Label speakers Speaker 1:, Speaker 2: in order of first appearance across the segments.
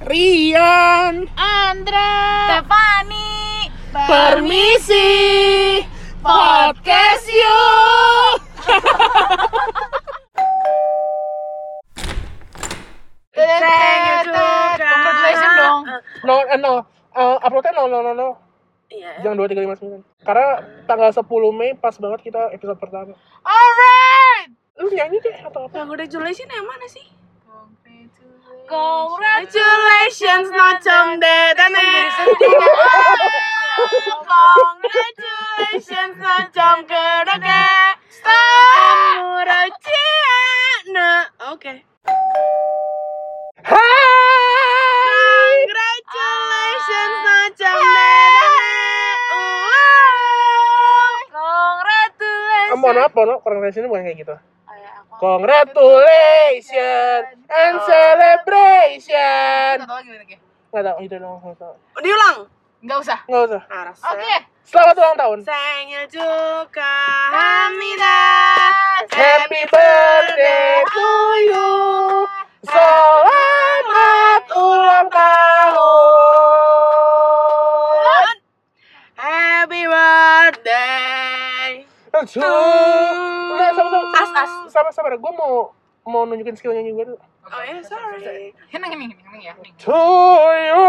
Speaker 1: Rian
Speaker 2: Andra Stefani
Speaker 1: Permisi Podcast yuk
Speaker 2: Congratulations dong
Speaker 1: No, eh, no Eh, Uploadnya no, no, no, no
Speaker 3: Iya.
Speaker 1: Jangan 2359 Karena tanggal 10 Mei pas banget kita episode pertama
Speaker 2: Alright
Speaker 1: Lu nyanyi deh atau apa?
Speaker 3: Congratulations yang mana sih?
Speaker 2: Congratulations
Speaker 3: Nocom dedan
Speaker 2: Congratulations Nocom kerege Star
Speaker 3: Oke.
Speaker 1: Hai
Speaker 3: Congratulations Nocom dedan
Speaker 1: Eh,
Speaker 2: Congratulations
Speaker 1: Ah, Mohon maaf, mohon maaf, congratulations bukan kayak gitu
Speaker 2: Oh, ya, aku-
Speaker 1: Congratulations and
Speaker 2: Oh.
Speaker 1: celebration
Speaker 2: Satu lagi, lagi.
Speaker 1: Nggak tau, gitu dong, nggak tau
Speaker 3: Diulang.
Speaker 2: Nggak usah
Speaker 1: Nggak usah
Speaker 3: Oke.
Speaker 2: Oke
Speaker 1: Selamat ulang tahun
Speaker 3: Sengil juga Hamida.
Speaker 1: Happy birthday to you Selamat ulang tahun
Speaker 3: Happy birthday.
Speaker 1: Cu. Udah sama sama
Speaker 3: As, as.
Speaker 1: Sama sama Gue mau mau nunjukin skill nyanyi gue dulu
Speaker 3: Oh ya, sorry.
Speaker 2: Hening, hening, hening, hening ya hening.
Speaker 1: To you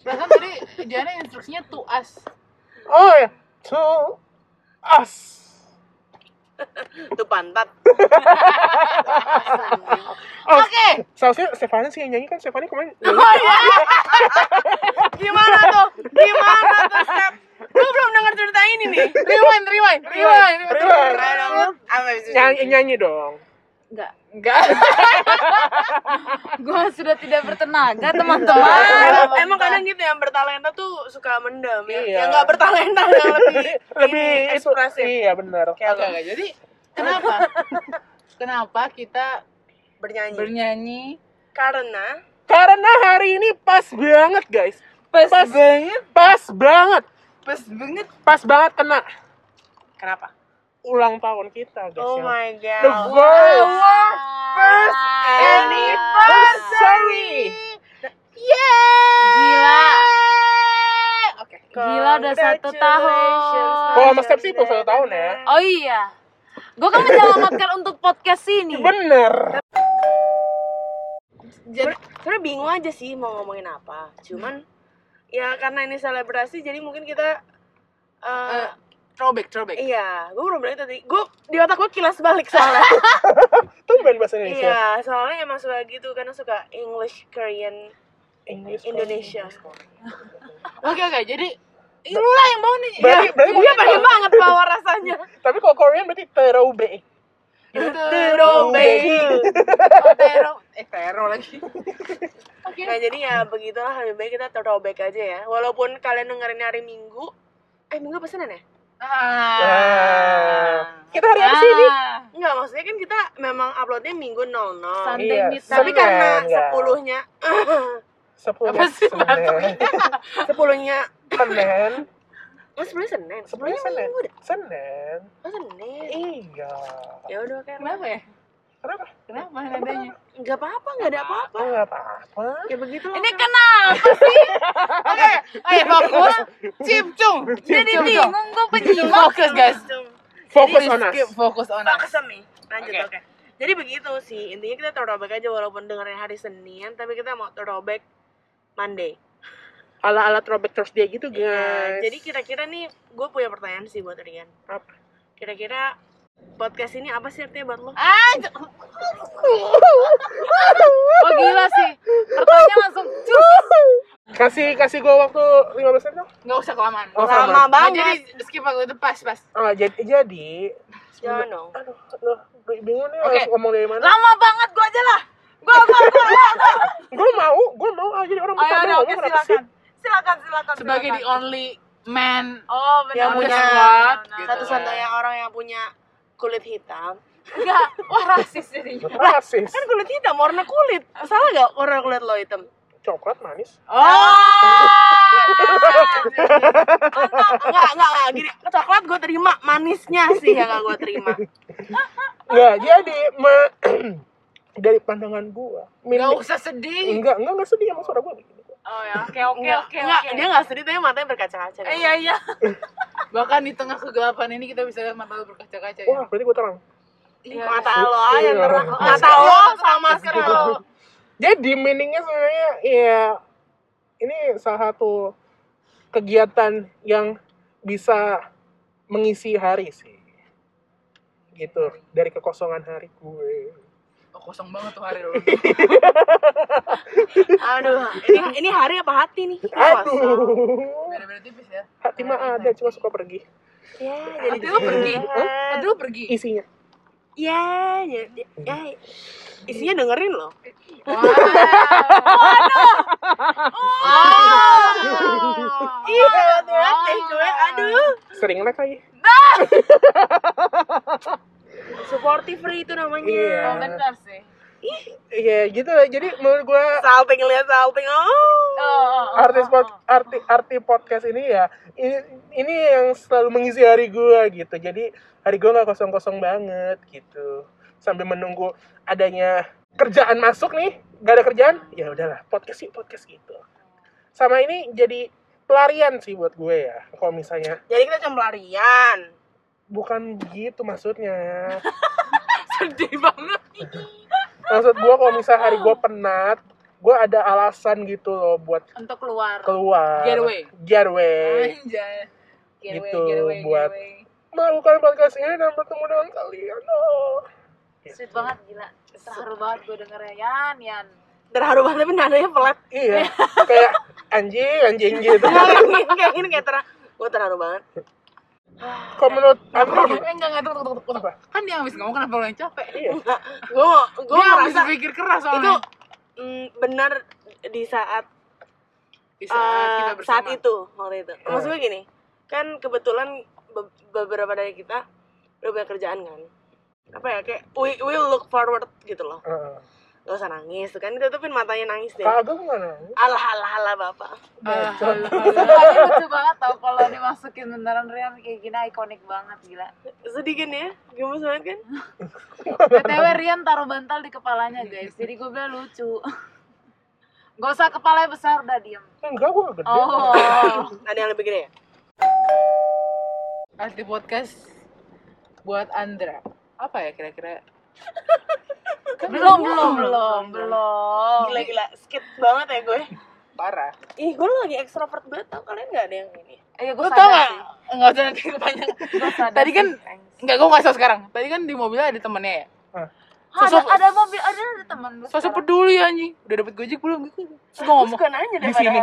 Speaker 2: Bahkan tadi Diana instruksinya to us
Speaker 1: Oh ya To us
Speaker 3: Itu pantat.
Speaker 1: Oh,
Speaker 2: Oke
Speaker 1: Seharusnya Stefani sih yang nyanyi kan Stefani kemarin
Speaker 3: Oh iya. Gimana tuh? Gimana tuh, Step? Gue belum dengar cerita ini nih.
Speaker 2: Rewind, rewind,
Speaker 3: Iya,
Speaker 2: rewind,
Speaker 1: Rewind.
Speaker 3: Ayo dong, lu. Apa sih?
Speaker 1: nyanyi, nyanyi dong
Speaker 2: Enggak Enggak Gue sudah tidak bertenaga teman-teman
Speaker 3: Emang- Emang kadang gitu yang bertalenta tuh suka mendem ya.
Speaker 1: Iya.
Speaker 3: Yang nggak bertalenta yang lebih
Speaker 1: lebih
Speaker 3: ini,
Speaker 1: itu
Speaker 3: ekspresif.
Speaker 1: iya benar
Speaker 3: Kayak lo
Speaker 2: Oke, oke. jadi kenapa? kenapa kita
Speaker 3: bernyanyi.
Speaker 2: bernyanyi
Speaker 3: Karena
Speaker 1: karena hari ini pas banget guys
Speaker 2: pas,
Speaker 1: Pas.
Speaker 2: banget,
Speaker 1: pas banget
Speaker 2: pas banget.
Speaker 1: pas banget kena
Speaker 3: kenapa?
Speaker 1: ulang tahun kita guys
Speaker 3: Oh
Speaker 1: ya.
Speaker 3: my god.
Speaker 1: the world
Speaker 2: Our
Speaker 1: first anniversary
Speaker 2: Gila. Oke. Gila udah satu
Speaker 3: Congratulations,
Speaker 2: tahun.
Speaker 1: Kalau sama Step sih itu satu tahun ya.
Speaker 2: Oh iya. Gue kan menyelamatkan untuk podcast ini.
Speaker 1: bener
Speaker 2: Jadi,
Speaker 3: Sebenernya bingung aja sih mau ngomongin apa. Cuman ya karena ini selebrasi jadi mungkin kita eh,
Speaker 2: eh, throwback, throwback.
Speaker 3: Iya, gue baru bilang tadi. Gue di otak gue kilas balik soalnya.
Speaker 1: tuh main bahasa Indonesia
Speaker 3: iya, soalnya emang suka gitu karena suka English Korean
Speaker 1: English
Speaker 3: Indonesia.
Speaker 2: Oke oke. Jadi eh, lu lah yang bawa nih.
Speaker 1: berarti berarti
Speaker 3: Gue
Speaker 1: mungkin
Speaker 3: Iya, pengen banget bawa rasanya.
Speaker 1: tapi kalau Korean berarti terobe
Speaker 3: Terobek.
Speaker 2: Oh, tero. Eh tero lagi. Oke.
Speaker 3: Nah jadi ya begitulah lebih baik kita terobek aja ya. Walaupun kalian dengerin hari Minggu, eh Minggu pesanan ya?
Speaker 1: Ah.
Speaker 2: Ah.
Speaker 1: kita hari apa sih ini
Speaker 2: Ah.
Speaker 3: Enggak, maksudnya kan kita memang uploadnya Minggu 00.
Speaker 2: Sunday
Speaker 1: Iya,
Speaker 2: midnight.
Speaker 3: Tapi karena
Speaker 1: Enggak.
Speaker 3: sepuluhnya,
Speaker 1: sepuluh
Speaker 2: Apa sih
Speaker 1: Senin Senin
Speaker 3: sepuluhnya, oh sepuluhnya Senin,
Speaker 1: sepuluh
Speaker 3: sepuluhnya
Speaker 1: Senin
Speaker 3: Minggu dah.
Speaker 1: Senin
Speaker 3: Oh Senin.
Speaker 1: iya
Speaker 3: Ya udah kan.
Speaker 2: Kenapa ya?
Speaker 1: kenapa
Speaker 2: Kenapa nadanya?
Speaker 3: Enggak apa-apa, enggak ada apa-apa.
Speaker 1: oh nggak apa-apa
Speaker 3: Ya begitu lah.
Speaker 2: Ini kenapa sih? Oke, ayo fokus. Cipcung. Jadi
Speaker 1: Cipcung.
Speaker 2: bingung gue penyimak. Fokus guys.
Speaker 1: fokus
Speaker 2: Jadi
Speaker 1: on us
Speaker 2: skip, Fokus on us.
Speaker 3: Kesem nih. Lanjut,
Speaker 2: Oke.
Speaker 3: oke. Jadi begitu sih, intinya kita throwback aja walaupun dengerin hari Senin, tapi kita mau throwback Monday.
Speaker 1: ala-ala throwback Thursday gitu
Speaker 2: Iya,
Speaker 1: guys
Speaker 3: Nah, jadi kira-kira nih, gue punya pertanyaan sih buat Rian.
Speaker 1: Apa?
Speaker 3: Kira-kira podcast ini apa sih artinya buat lo?
Speaker 2: Ah, j- oh gila sih. Pertanyaan langsung cus.
Speaker 1: kasih kasih gue waktu 15 menit dong
Speaker 2: Nggak usah kelamaan.
Speaker 1: Oh,
Speaker 3: Lama
Speaker 1: sama.
Speaker 2: Nggak,
Speaker 3: banget.
Speaker 2: jadi skip aku itu pas pas.
Speaker 1: Ah, jadi jadi
Speaker 3: Jangan dong.
Speaker 1: aduh aduh gue bingung nih
Speaker 2: Oke.
Speaker 1: harus ngomong dari mana
Speaker 2: Lama banget gue aja lah. Gue gue gue.
Speaker 1: gue mau gue mau ah, jadi orang
Speaker 2: Ayo
Speaker 1: pertama
Speaker 2: Oh, ya udah,
Speaker 1: ngomong
Speaker 2: oke
Speaker 1: kenapa sih?
Speaker 2: silakan.
Speaker 3: Silakan, silakan.
Speaker 2: Sebagai the only man
Speaker 3: Oh,
Speaker 2: yang punya
Speaker 3: benar. punya kan.
Speaker 2: squad, gitu.
Speaker 3: satu-satunya orang yang punya kulit hitam.
Speaker 2: Enggak, wah rasis jadinya.
Speaker 1: rasis
Speaker 3: Kan kulit hitam warna kulit. Salah gak warna kulit lo hitam?
Speaker 1: coklat manis
Speaker 2: Oh.
Speaker 3: Enggak, enggak, enggak, gini. Coklat gue terima, manisnya sih yang gak gue terima.
Speaker 1: nggak jadi me- dari pandangan gua
Speaker 2: Gak
Speaker 1: milik
Speaker 2: usah Iya. sedih.
Speaker 1: enggak enggak enggak sedih sama suara gua
Speaker 4: Oh ya, oke oke
Speaker 3: Nggak,
Speaker 4: oke.
Speaker 3: nggak,
Speaker 4: oke.
Speaker 3: dia nggak sedih tapi matanya berkaca-kaca.
Speaker 4: Eh, iya iya.
Speaker 2: Bahkan di tengah kegelapan ini kita bisa lihat mata lu berkaca-kaca ya.
Speaker 1: wah berarti gua terang
Speaker 4: Iya.
Speaker 3: Mata lo aja yang terang.
Speaker 1: Iya.
Speaker 3: Mata lo sama masker
Speaker 2: gitu.
Speaker 3: lo.
Speaker 2: Iya.
Speaker 1: jadi meaningnya sebenarnya ya ini salah satu kegiatan yang bisa mengisi hari sih gitu dari kekosongan hari gue
Speaker 2: Oh, kosong banget tuh hari lu.
Speaker 3: Aduh, ini ini hari apa hati nih? Kosong.
Speaker 1: aduh
Speaker 2: Gak ada berarti bis ya.
Speaker 1: hati mah ada cuma suka pergi
Speaker 3: Ya, jadi
Speaker 2: Hati lu pergi.
Speaker 1: Hah?
Speaker 2: Hati lu Nah, pergi.
Speaker 1: isinya
Speaker 3: Ya, jadi ya isinya dengerin loh.
Speaker 2: Wah.
Speaker 4: Oh,
Speaker 3: Iya, banget deh gue. Aduh.
Speaker 1: sering like lagi
Speaker 3: Supportive free itu
Speaker 1: Iya.
Speaker 3: namanya.
Speaker 4: Oh, benar sih.
Speaker 1: iya gitu lah. jadi menurut gue
Speaker 3: Salting lihat salting.
Speaker 4: Oh,
Speaker 3: Oh.
Speaker 4: oh, oh,
Speaker 1: artis
Speaker 4: oh,
Speaker 1: pod, arti arti podcast ini ya ini, ini yang selalu mengisi hari gua gitu jadi hari gua nggak kosong kosong banget gitu sambil menunggu adanya kerjaan masuk nih gak ada kerjaan ya udahlah podcast yuk podcast gitu sama ini jadi pelarian sih buat gue ya kalau misalnya
Speaker 3: Jadi kita cuma pelarian.
Speaker 1: bukan gitu maksudnya
Speaker 4: Sedih banget.
Speaker 1: maksud gua kalau misalnya hari gua penat gua ada alasan gitu loh buat
Speaker 4: Untuk keluar.
Speaker 1: keluar
Speaker 2: Getaway.
Speaker 4: Ah, iya.
Speaker 1: getaway
Speaker 2: Anjay.
Speaker 4: Getaway,
Speaker 1: Gitu,
Speaker 4: getaway,
Speaker 1: buat-
Speaker 4: getaway.
Speaker 1: melakukan podcast ini dan bertemu dengan kalian. Oh.
Speaker 4: Sweet banget gila. Terharu banget gue dengernya Yan, Yan.
Speaker 3: Terharu banget tapi nadanya pelat.
Speaker 1: Iya, kayak anjing, anjing gitu.
Speaker 3: Kayak gini kayak terang. Gue terharu banget.
Speaker 1: Kok menurut
Speaker 2: Eh,
Speaker 1: Abang?
Speaker 2: enggak, enggak, tunggu, tunggu, tunggu.
Speaker 1: Apa?
Speaker 2: Kan dia habis ngomong kenapa lo yang capek?
Speaker 1: Iya.
Speaker 3: Gue gue
Speaker 2: Dia habis
Speaker 3: merasa
Speaker 2: berpikir keras
Speaker 3: itu
Speaker 2: soalnya.
Speaker 3: mm, benar di saat
Speaker 2: Di Uh, saat
Speaker 3: Eh,
Speaker 2: kita bersama. Iya.
Speaker 3: saat itu waktu itu maksud gue gini kan kebetulan be- beberapa dari kita udah punya kerjaan kan apa ya kayak we will look forward gitu loh
Speaker 1: Heeh.
Speaker 3: gak usah nangis tuh kan tutupin matanya nangis deh
Speaker 1: Kak Agung mana?
Speaker 3: alah alah alah bapak
Speaker 2: Ah,
Speaker 1: Bacot.
Speaker 4: Lagi lucu banget tau kalau dimasukin beneran Rian kayak gini ikonik banget gila.
Speaker 3: sedih kan ya gemes banget kan
Speaker 4: BTW Rian taruh bantal di kepalanya guys. Jadi gue bilang lucu. Gak usah kepalanya besar udah diem.
Speaker 1: Enggak, gue gede.
Speaker 4: Oh.
Speaker 3: ada yang lebih gede ya
Speaker 2: Arti podcast buat Andra. Apa ya kira-kira? Kan
Speaker 4: belum belum belum belum.
Speaker 3: gila gila skip banget ya gue
Speaker 2: Parah.
Speaker 3: Oh. ih gue lagi ekstrovert banget tau kalian gak ada yang ini
Speaker 4: Ayo gue
Speaker 2: Lo tau
Speaker 4: Iya, sadar
Speaker 2: gak?
Speaker 4: sih.
Speaker 2: Enggak usah nanti kepanjang.
Speaker 4: Gua sadar
Speaker 2: Tadi kan-
Speaker 4: sih, thanks.
Speaker 2: Enggak, gue ngasih tau sekarang. Tadi kan di mobilnya ada temennya ya?
Speaker 1: Ah,
Speaker 4: Hah, ada,
Speaker 2: Sosok-
Speaker 4: ada mobil ada ada teman lu
Speaker 2: Sosok
Speaker 4: sekarang.
Speaker 2: peduli anjing. Udah dapet gojek belum? Gitu. Terus gue ngomong.
Speaker 3: suka nanya deh
Speaker 1: Di sini.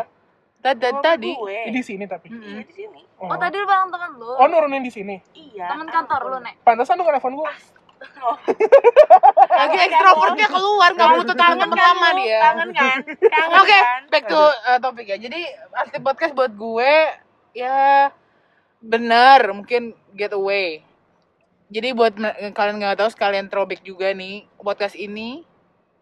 Speaker 2: Tadi,
Speaker 3: padahal.
Speaker 2: tadi.
Speaker 3: Gue.
Speaker 1: Di sini tapi.
Speaker 2: Mm-mm.
Speaker 3: iya di sini
Speaker 1: Oh,
Speaker 4: Oh tadi lu bareng teman lu.
Speaker 1: Oh, nurunin di sini.
Speaker 3: iya
Speaker 4: Teman kantor lu nek.
Speaker 1: Pantasan lu nelfon gue.
Speaker 2: Lagi ekstrovertnya keluar, nggak butuh tangan pertama
Speaker 3: lu,
Speaker 2: dia.
Speaker 3: kangen kan kangen
Speaker 2: Oke,
Speaker 3: kan
Speaker 2: back to uh, topik ya. Jadi arti podcast buat gue ya bener mungkin getaway. Jadi buat me- kalian nggak tahu sekalian throwback juga nih podcast ini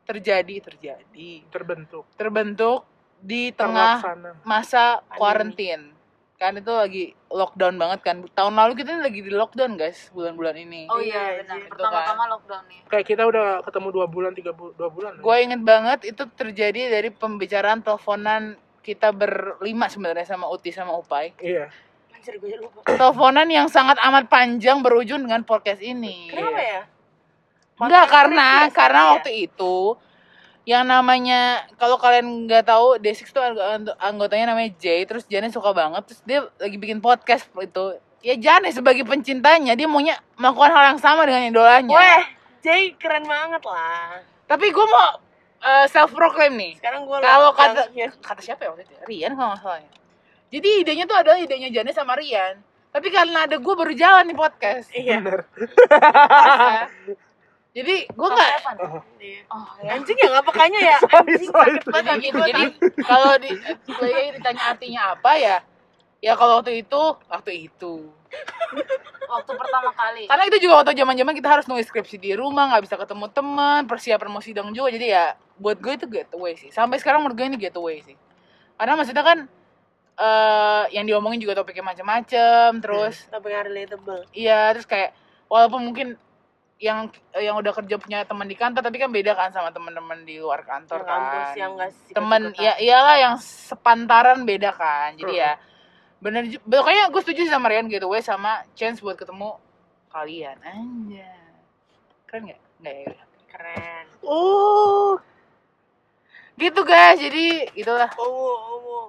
Speaker 2: terjadi terjadi
Speaker 1: Terbentuk.
Speaker 2: terbentuk di tengah
Speaker 1: Terlaksana.
Speaker 2: masa quarantine. Kan itu lagi lockdown banget kan. Tahun lalu kita lagi di lockdown guys bulan-bulan ini.
Speaker 4: Oh
Speaker 3: Iya,
Speaker 4: iya benar.
Speaker 2: kan.
Speaker 3: gitu
Speaker 4: Pertama-tama lockdown nih.
Speaker 1: Kayak kita udah ketemu dua bulan, tiga bu dua bulan.
Speaker 2: Gue inget banget itu terjadi dari pembicaraan teleponan kita berlima sebenarnya sama Uti sama Upai.
Speaker 1: Iya.
Speaker 3: anjir gue lupa
Speaker 2: teleponan yang sangat amat panjang berujung dengan podcast ini.
Speaker 3: Kenapa ya?
Speaker 2: Enggak
Speaker 3: Podcast
Speaker 2: karena
Speaker 3: ini biasanya
Speaker 2: karena
Speaker 3: ya?
Speaker 2: waktu itu yang namanya kalau kalian nggak tahu D6 itu angg- anggotanya namanya Jay terus Jane suka banget terus dia lagi bikin podcast itu ya Jane sebagai pencintanya dia maunya melakukan hal yang sama dengan idolanya
Speaker 3: Weh, Jay keren banget lah.
Speaker 2: tapi gue mau self proclaim nih
Speaker 3: Sekarang gue
Speaker 2: Kalau
Speaker 3: lihat
Speaker 2: kata-
Speaker 3: langsungnya.
Speaker 2: kata siapa ya waktu itu Rian kalau nggak salah ya. jadi idenya tuh adalah idenya Jane sama Rian tapi karena ada gue baru jalan nih podcast
Speaker 3: Iya.
Speaker 1: Bener.
Speaker 2: Ya. jadi gue nggak
Speaker 4: Stefan.
Speaker 3: iya.
Speaker 4: Oh ya.
Speaker 3: Anjing ya nggak pekanya ya.
Speaker 1: Sorry, sorry.
Speaker 2: jadi, jadi kalau di kalau ya ditanya artinya apa ya ya kalau waktu itu waktu itu
Speaker 4: Waktu pertama kali.
Speaker 2: karena itu juga waktu zaman zaman kita harus nulis skripsi di rumah nggak bisa ketemu teman persiapan mau sidang juga jadi ya buat gue itu getaway sih sampai sekarang menurut gue ini getaway sih karena maksudnya kan eh yang diomongin juga topiknya macam-macam terus
Speaker 3: Tapi nggak relatable. Ya
Speaker 2: Iya, terus kayak walaupun mungkin yang yang udah kerja punya teman di kantor tapi kan beda kan sama teman-teman di luar kantor
Speaker 3: Yang
Speaker 2: kan
Speaker 3: kampus yang nggak sih
Speaker 2: temen
Speaker 3: kan?
Speaker 2: ya iyalah yang sepantaran beda kan jadi ya bener ju- pokoknya gue setuju sih sama Rian gitu gue sama chance buat ketemu kalian aja keren nggak nggak ya udah.
Speaker 3: keren
Speaker 1: Oh,
Speaker 2: gitu guys jadi itulah
Speaker 3: owo owo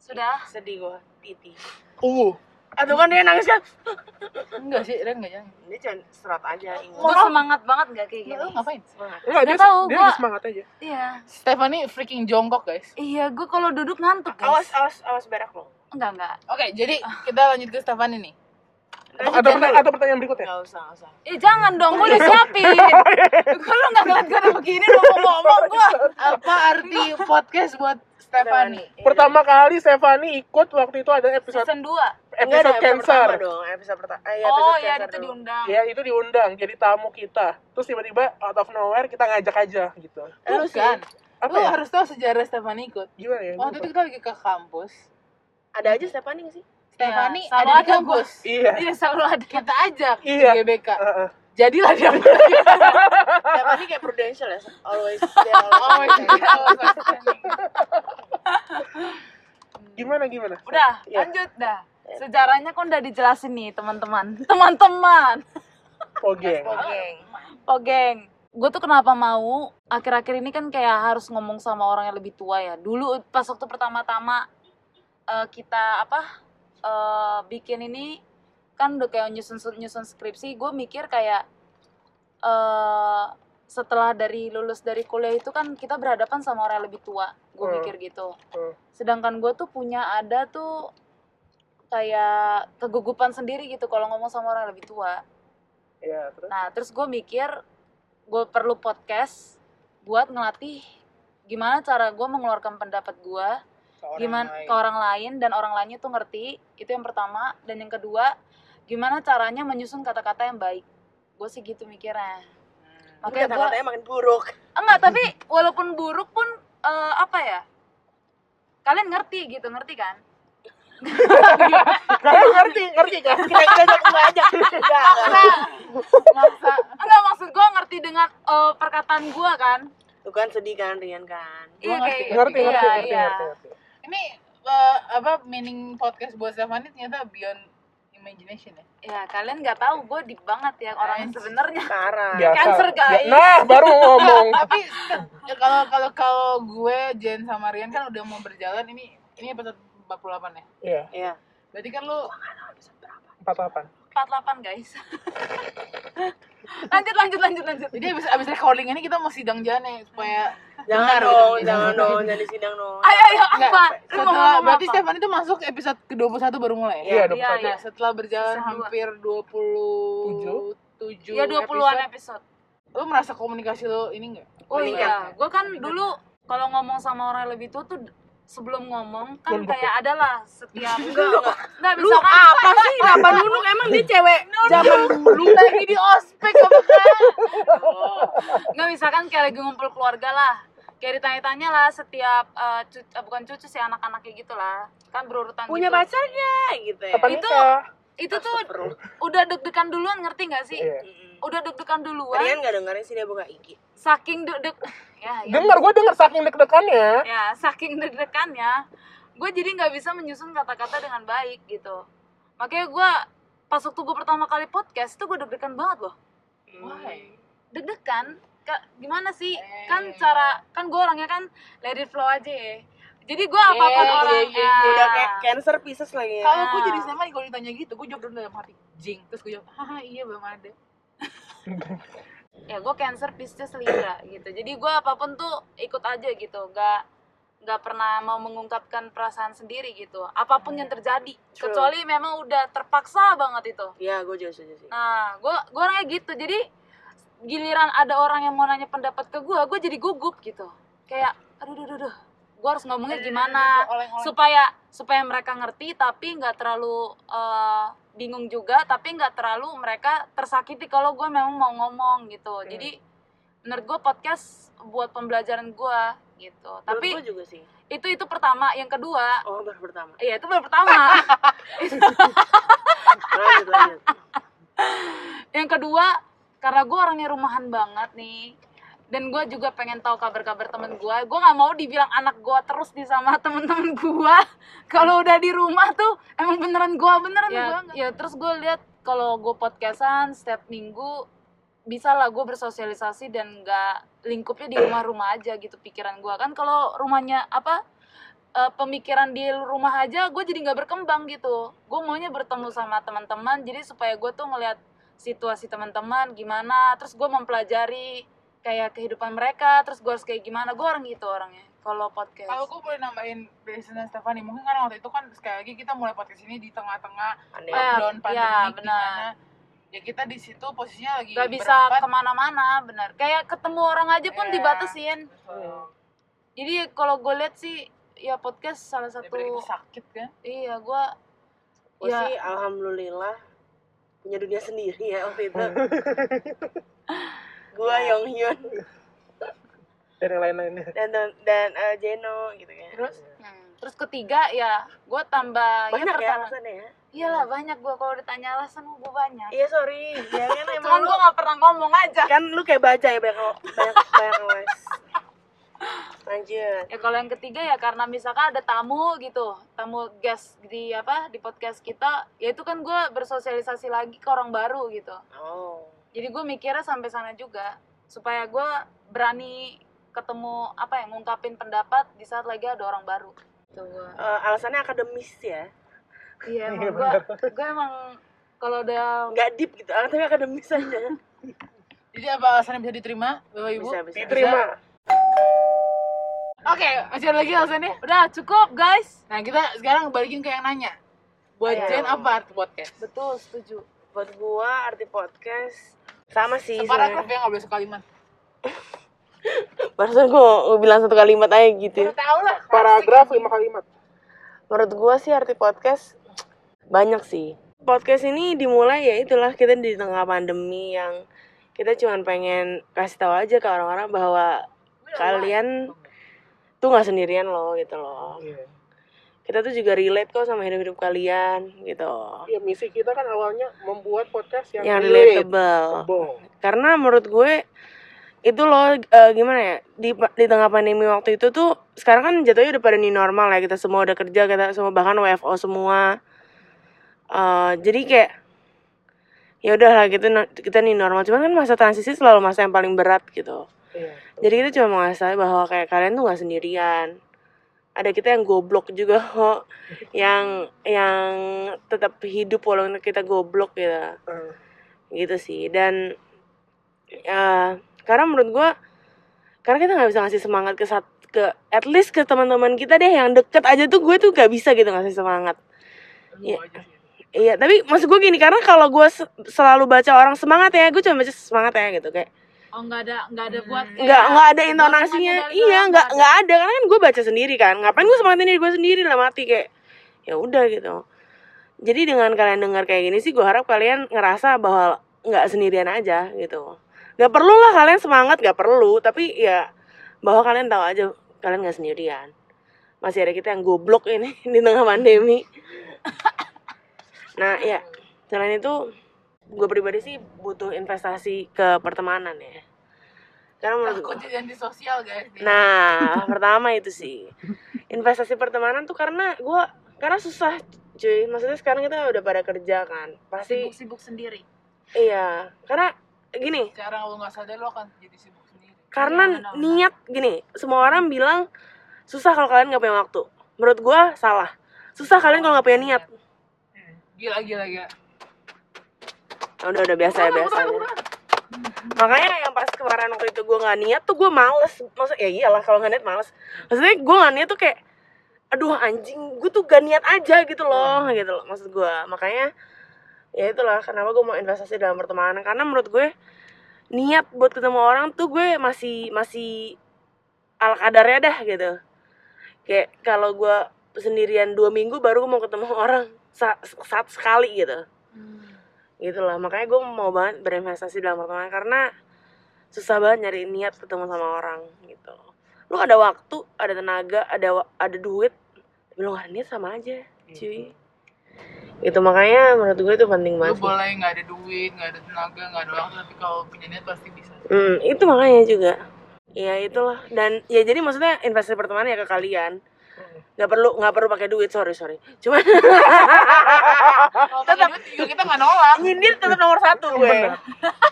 Speaker 4: Sudah.
Speaker 3: Oh, sedih gua titi
Speaker 1: uh,
Speaker 3: atau kan dia nangis kan
Speaker 2: enggak sih Rian nggak jangan
Speaker 3: dia jangan serat aja ingat
Speaker 4: Gue semangat banget gak kayak
Speaker 2: Nggak,
Speaker 4: gini?
Speaker 2: lu ngapain
Speaker 3: semangat
Speaker 1: enggak dia,
Speaker 4: Nggak tahu,
Speaker 1: dia
Speaker 4: gua-
Speaker 1: lagi semangat aja.
Speaker 4: Iya.
Speaker 2: Stephanie freaking jongkok guys
Speaker 4: Iya, gue kalau duduk ngantuk,
Speaker 3: awas
Speaker 4: guys.
Speaker 3: awas awas berak lo
Speaker 4: Enggak, enggak.
Speaker 2: oke jadi kita lanjut ke Stephanie nih
Speaker 1: Atau, atau, pertanyaan, atau pertanyaan berikutnya?
Speaker 3: nggak usah nggak usah
Speaker 4: Eh jangan dong, gue
Speaker 2: Iya.
Speaker 4: udah siapin. Gue lu nggak ngeliat gue udah begini lu ngomong-ngomong gue.
Speaker 2: apa arti podcast buat Stephanie
Speaker 1: Pertama kali Stefani ikut waktu itu ada episode
Speaker 4: Season 2.
Speaker 3: Enggak
Speaker 1: episode
Speaker 3: ada episode
Speaker 1: cancer.
Speaker 3: pertama dong episode pertama eh,
Speaker 4: Oh
Speaker 3: episode
Speaker 4: iya,
Speaker 3: cancer
Speaker 4: itu
Speaker 3: dulu.
Speaker 4: diundang.
Speaker 1: Ya itu diundang jadi tamu kita. Terus tiba-tiba out of nowhere kita ngajak aja gitu.
Speaker 3: Eh, lu sih
Speaker 2: bukan
Speaker 1: Apa
Speaker 2: lu
Speaker 1: ya?
Speaker 2: harus tahu sejarah Stephanie ikut
Speaker 1: Gimana ya?
Speaker 2: waktu itu
Speaker 1: Lupa.
Speaker 2: kita lagi ke kampus
Speaker 3: ada aja Stephanie nggak sih
Speaker 2: Stephanie
Speaker 4: selalu
Speaker 2: ada di
Speaker 4: ada gua.
Speaker 2: kampus
Speaker 1: Iya.
Speaker 4: Iya, selalu ada.
Speaker 2: kita ajak
Speaker 1: Iya.
Speaker 2: ke GBK
Speaker 1: Heeh.
Speaker 2: jadilah dia
Speaker 3: Stephanie kayak prudential ya always there
Speaker 4: iya.
Speaker 2: oh
Speaker 3: always there.
Speaker 1: Gimana gimana?
Speaker 4: Udah,
Speaker 2: Iya.
Speaker 4: lanjut dah. Sejarahnya kan udah dijelasin nih, teman-teman. Teman-teman.
Speaker 1: Pogeng.
Speaker 3: Pogeng.
Speaker 4: Oh, geng. Gue tuh kenapa mau akhir-akhir ini kan kayak harus ngomong sama orang yang lebih tua ya. Dulu pas waktu pertama-tama eh, kita apa eh, bikin ini kan udah kayak nyusun nyusun skripsi, gue mikir kayak eh setelah dari lulus dari kuliah itu kan kita berhadapan sama orang yang lebih tua. Gue
Speaker 1: Hmm.
Speaker 4: mikir gitu.
Speaker 1: Hmm.
Speaker 4: Sedangkan gue tuh punya ada tuh kayak kegugupan sendiri gitu kalau ngomong sama orang yang lebih tua.
Speaker 1: Iya, terus.
Speaker 4: Nah, terus gue mikir gue perlu podcast buat ngelatih gimana cara gue mengeluarkan pendapat gue gimana ke orang lain dan orang lainnya tuh ngerti itu yang pertama dan yang kedua gimana caranya menyusun kata-kata yang baik gue sih gitu mikirnya
Speaker 3: Oke,
Speaker 4: makanya gue
Speaker 3: kata-katanya makin buruk.
Speaker 4: enggak tapi walaupun buruk pun eh, apa ya kalian ngerti gitu ngerti kan
Speaker 1: Kalian ngerti, ngerti kan?
Speaker 3: Kita kita ajak gua ajak. Enggak, enggak.
Speaker 2: maksa
Speaker 4: enggak maksud gue ngerti dengan eh, perkataan gue kan
Speaker 3: Tuh kan sedih kan Rian kan.
Speaker 2: Gua ngerti,
Speaker 1: Ngerti,
Speaker 4: iya,
Speaker 1: ngerti, ngerti,
Speaker 4: iya.
Speaker 1: ngerti, ngerti.
Speaker 2: ini eh, apa meaning podcast buat Stephanie ternyata beyond imagination ya
Speaker 4: Ya kalian nggak tahu gue deep banget ya orangnya
Speaker 2: Anjing.
Speaker 4: sebenarnya.
Speaker 3: Parah.
Speaker 1: Biasa.
Speaker 4: Cancer, guys.
Speaker 1: Nah, baru mau ngomong.
Speaker 2: tapi ya kalau kalau kalau gue Jen sama Rian kan udah mau berjalan ini ini episode 48 ya
Speaker 1: Iya,
Speaker 3: Iya.
Speaker 2: berarti kan lu
Speaker 1: empat delapan.
Speaker 4: 48 guys. lanjut lanjut lanjut lanjut.
Speaker 2: jadi abis, abis recording ini kita mau sidang jalan ya supaya
Speaker 3: Jangan
Speaker 2: Benar,
Speaker 3: dong,
Speaker 2: benar.
Speaker 3: jangan dong, jadi sidang dong.
Speaker 4: Ayo ayo
Speaker 2: Nggak,
Speaker 4: apa? Lu mau
Speaker 2: setelah
Speaker 4: ngomong
Speaker 2: berarti
Speaker 4: apa?
Speaker 2: Stephanie itu masuk episode ke-21 baru mulai ya?
Speaker 1: Iya,
Speaker 4: Iya,
Speaker 1: 21.
Speaker 4: iya.
Speaker 2: Nah, setelah berjalan
Speaker 4: Season dua.
Speaker 2: hampir 27 7
Speaker 4: Ya 20-an episode.
Speaker 2: Lu merasa komunikasi lu ini enggak?
Speaker 4: Oh iya,
Speaker 2: Meningkat.
Speaker 4: gue kan dulu kalau ngomong sama orang yang lebih tua tuh sebelum ngomong kan
Speaker 1: Nunduk
Speaker 4: kayak adalah setiap
Speaker 3: Enggak, enggak.
Speaker 4: nggak
Speaker 3: Lu
Speaker 4: bisa kan
Speaker 3: apa sih? Kenapa nunuk? Emang dia cewek zaman dulu.
Speaker 2: Lagi di ospek apa
Speaker 4: nggak misalkan kayak lagi ngumpul keluarga lah kayak ditanya-tanya lah setiap eh, cu- eh, bukan cucu sih anak-anak kayak gitulah kan berurutan
Speaker 3: Punya
Speaker 4: gitu.
Speaker 3: pacar gak? Gitu ya.
Speaker 1: Kapan
Speaker 4: Itu-
Speaker 1: nikah?
Speaker 4: itu tuh
Speaker 3: Astagfirullah.
Speaker 4: udah deg-degan duluan ngerti nggak sih
Speaker 1: Iya.
Speaker 3: Mm-mm.
Speaker 4: udah deg-degan duluan
Speaker 3: Rian gak dengerin sih dia buka IG.
Speaker 4: saking deg-deg ya, ya.
Speaker 1: Dengar, gue dengar saking deg-degannya.
Speaker 4: ya saking deg-degannya gue jadi nggak bisa menyusun kata-kata dengan baik gitu makanya gue pas waktu gue pertama kali podcast tuh gue deg-degan banget loh
Speaker 2: Why?
Speaker 4: deg-degan Ka- gimana sih
Speaker 2: Eh.
Speaker 4: kan cara kan gue orangnya kan let it flow aja ya jadi gue apa apa
Speaker 2: Eh, iya,
Speaker 4: orang
Speaker 2: iya,
Speaker 4: ya.
Speaker 3: Udah kayak cancer pieces lagi.
Speaker 2: Kalau gue jadi Stephanie kalau ditanya gitu, gue jawab dulu dalam hati. Jing, terus gue jawab, haha iya belum ada.
Speaker 4: ya gue cancer Pisces Libra gitu jadi gue apapun tuh ikut aja gitu gak nggak pernah mau mengungkapkan perasaan sendiri gitu apapun yang terjadi
Speaker 3: True.
Speaker 4: kecuali memang udah terpaksa banget itu
Speaker 3: Iya, gue juga setuju sih.
Speaker 4: nah gue gue orangnya gitu jadi giliran ada orang yang mau nanya pendapat ke gue gue jadi gugup gitu kayak aduh aduh aduh, aduh gue harus ngomongnya gimana
Speaker 2: Oleng-oleng.
Speaker 4: supaya supaya mereka ngerti tapi nggak terlalu eh, bingung juga tapi nggak terlalu mereka tersakiti kalau gue memang mau ngomong gitu jadi menurut gue podcast buat pembelajaran gue gitu tapi
Speaker 3: gue juga sih.
Speaker 4: itu itu pertama yang kedua
Speaker 3: Oh, baru pertama.
Speaker 4: iya itu baru pertama
Speaker 3: Lanjut, lanjut.
Speaker 4: yang kedua karena gue orangnya rumahan banget nih dan gue juga pengen tahu kabar-kabar temen gue gue nggak mau dibilang anak gue terus di sama temen-temen gue kalau udah di rumah tuh emang beneran gue beneran
Speaker 2: Ya.
Speaker 4: gue ya terus gue lihat kalau gue podcastan setiap minggu bisa lah gue bersosialisasi dan nggak lingkupnya di rumah-rumah aja gitu pikiran gue kan kalau rumahnya apa eh, pemikiran di rumah aja gue jadi nggak berkembang gitu gue maunya bertemu sama teman-teman jadi supaya gue tuh ngelihat situasi teman-teman gimana terus gue mempelajari kayak kehidupan mereka terus gue harus kayak gimana gue orang gitu orangnya kalau podcast
Speaker 2: Kalau gue boleh nambahin dari Sena Stefani, mungkin karena waktu itu kan sekali lagi kita mulai podcast ini di tengah-tengah
Speaker 3: Pandemi.
Speaker 4: Ah,
Speaker 2: lockdown
Speaker 4: iya,
Speaker 2: pandemi di
Speaker 4: benar.
Speaker 2: mana ya kita di situ posisinya lagi
Speaker 4: nggak bisa
Speaker 2: berempat.
Speaker 4: kemana-mana benar kayak ketemu orang aja pun
Speaker 2: Iya.
Speaker 4: dibatasin
Speaker 2: Betul.
Speaker 4: jadi kalau gue lihat sih ya podcast salah satu
Speaker 2: Daripada kita sakit kan.
Speaker 4: iya gue
Speaker 3: Gue
Speaker 4: ya.
Speaker 3: sih alhamdulillah punya dunia sendiri ya waktu itu. gua
Speaker 4: Ya.
Speaker 3: Yong Hyun
Speaker 1: dan yang lain-lainnya
Speaker 3: dan dan, dan eh, Jeno gitu kan.
Speaker 2: Terus
Speaker 4: hmm, terus ketiga ya gue tambah
Speaker 3: Banyak ya
Speaker 4: pertama-
Speaker 3: alasannya ya.
Speaker 4: iyalah banyak gue kalau ditanya alasan gue banyak
Speaker 3: Iya sorry, ya kan emang
Speaker 4: cuman
Speaker 3: lu
Speaker 4: gue nggak pernah ngomong aja
Speaker 3: kan lu kayak baca ya banyak banyak banyak les. Lanjut.
Speaker 4: ya kalau yang ketiga ya karena misalkan ada tamu gitu tamu guest di apa di podcast kita ya itu kan gue bersosialisasi lagi ke orang baru gitu
Speaker 3: Oh.
Speaker 4: jadi gue mikirnya sampai sana juga supaya gue berani ketemu apa ya ngungkapin pendapat di saat lagi ada orang baru tuh gua.
Speaker 3: Eh, alasannya akademis ya.
Speaker 4: iya
Speaker 1: Iya,
Speaker 4: emang gue gue emang kalau udah
Speaker 3: Enggak deep gitu, alasannya akademis aja.
Speaker 2: jadi apa alasannya bisa diterima Bapak Ibu?
Speaker 3: Bisa, bisa.
Speaker 1: diterima
Speaker 2: Oke, masih ada lagi alasannya.
Speaker 4: udah cukup guys
Speaker 2: Nah, kita sekarang balikin ke yang nanya. Buat
Speaker 3: Ayo.
Speaker 2: Jen apa arti podcast?
Speaker 4: betul setuju
Speaker 3: Buat gua arti podcast sama sih.
Speaker 2: Separagraf
Speaker 3: sebenarnya.
Speaker 2: ya nggak boleh sekalimat.
Speaker 3: Barusan gua, gua bilang satu kalimat aja gitu.
Speaker 2: Udah tahu lah.
Speaker 1: paragraf lima kalimat
Speaker 3: menurut gua sih arti podcast banyak sih podcast ini dimulai ya itulah kita di tengah pandemi yang kita cuman pengen kasih tahu aja ke orang-orang bahwa kalian tuh nggak sendirian loh gitu loh
Speaker 1: iya
Speaker 3: kita tuh juga relate kok sama hidup-hidup kalian gitu
Speaker 1: Iya, misi kita kan awalnya membuat podcast yang,
Speaker 3: yang
Speaker 1: relatable.
Speaker 3: relatable karena menurut gue itu loh eh, gimana ya di pa- di tengah pandemi waktu itu tuh sekarang kan jatuhnya udah pada new normal ya kita semua udah kerja kita semua bahkan WFO semua Eh, jadi kayak ya udahlah gitu no- kita new normal cuman kan masa transisi selalu masa yang paling berat gitu
Speaker 1: Iya.
Speaker 3: jadi kita cuma mau ngasih tau bahwa kayak kalian tuh nggak sendirian ada kita yang goblok juga kok yang yang tetap hidup walaupun kita goblok gitu
Speaker 1: Eh,
Speaker 3: gitu sih dan eh karena menurut gua karena kita nggak bisa ngasih semangat ke sat- ke at least ke teman-teman kita deh yang deket aja tuh gue tuh gak bisa gitu ngasih semangat
Speaker 1: lu
Speaker 3: Iya.
Speaker 1: aja sih.
Speaker 3: iya tapi maksud gue gini karena kalau gue se- selalu baca orang semangat ya gue cuma baca semangat ya gitu kayak
Speaker 4: oh nggak ada nggak ada buat
Speaker 3: Hmm. nggak
Speaker 4: kayak-
Speaker 3: nggak ada
Speaker 4: buat
Speaker 3: intonasinya
Speaker 4: nanya dari
Speaker 3: iya
Speaker 4: dalam,
Speaker 3: nggak nggak ada karena kan gue baca sendiri kan ngapain gue semangatin diri gue sendiri lah mati kayak ya udah gitu jadi dengan kalian dengar kayak gini sih gue harap kalian ngerasa bahwa nggak sendirian aja gitu nggak perlu lah kalian semangat nggak perlu tapi ya bahwa kalian tahu aja kalian nggak sendirian masih ada kita yang goblok ini di tengah pandemi nah ya selain itu gue pribadi sih butuh investasi ke pertemanan ya karena menurut gue
Speaker 2: Takut jadi sosial guys.
Speaker 3: Nah, pertama itu sih. Investasi pertemanan tuh karena gua karena susah cuy. Maksudnya sekarang kita udah pada kerja kan. Pasti
Speaker 4: sibuk-sibuk sendiri
Speaker 3: iya. Karena gini,
Speaker 2: Sekarang lu nggak sadar lu akan jadi sibuk sendiri.
Speaker 4: Iya,
Speaker 3: karena
Speaker 4: benar-benar.
Speaker 3: niat gini, semua orang bilang susah kalau kalian nggak punya waktu. Menurut gua salah. Susah kalian kalau nggak punya niat.
Speaker 2: Hmm. Gila gila gila.
Speaker 3: Nah, udah udah biasa ya biasa. aja. Makanya yang pas kemarin waktu itu gue nggak niat tuh gue males. Maksud ya iyalah kalau nggak niat males. Maksudnya gue nggak niat tuh kayak aduh anjing gue tuh gak niat aja gitu loh gitu loh maksud gue makanya ya itulah kenapa gue mau investasi dalam pertemanan karena menurut gue niat buat ketemu orang tuh gue masih masih ala kadarnya dah gitu kayak kalau gue sendirian dua minggu baru gue mau ketemu orang sa- saat sekali gitu
Speaker 4: Hmm.
Speaker 3: gitu lah makanya gue mau banget berinvestasi dalam pertemanan karena susah banget nyari niat ketemu sama orang gitu lu ada Gitu. waktu ada tenaga ada wa- ada duit tapi lu gak ada niat sama aja cuy itu makanya menurut gue itu penting
Speaker 2: Lu
Speaker 3: banget sih.
Speaker 2: boleh nggak ada duit, nggak ada tenaga, nggak ada waktu, tapi kalau punya niat pasti bisa.
Speaker 3: Hmm, itu makanya juga ya itulah dan ya jadi maksudnya investasi pertemanan ya ke kalian nggak perlu nggak perlu pakai duit sorry sorry cuman
Speaker 2: Kalau punya duit juga kita nggak nolak.
Speaker 3: nyindir tetap nomor satu gue
Speaker 1: Bener.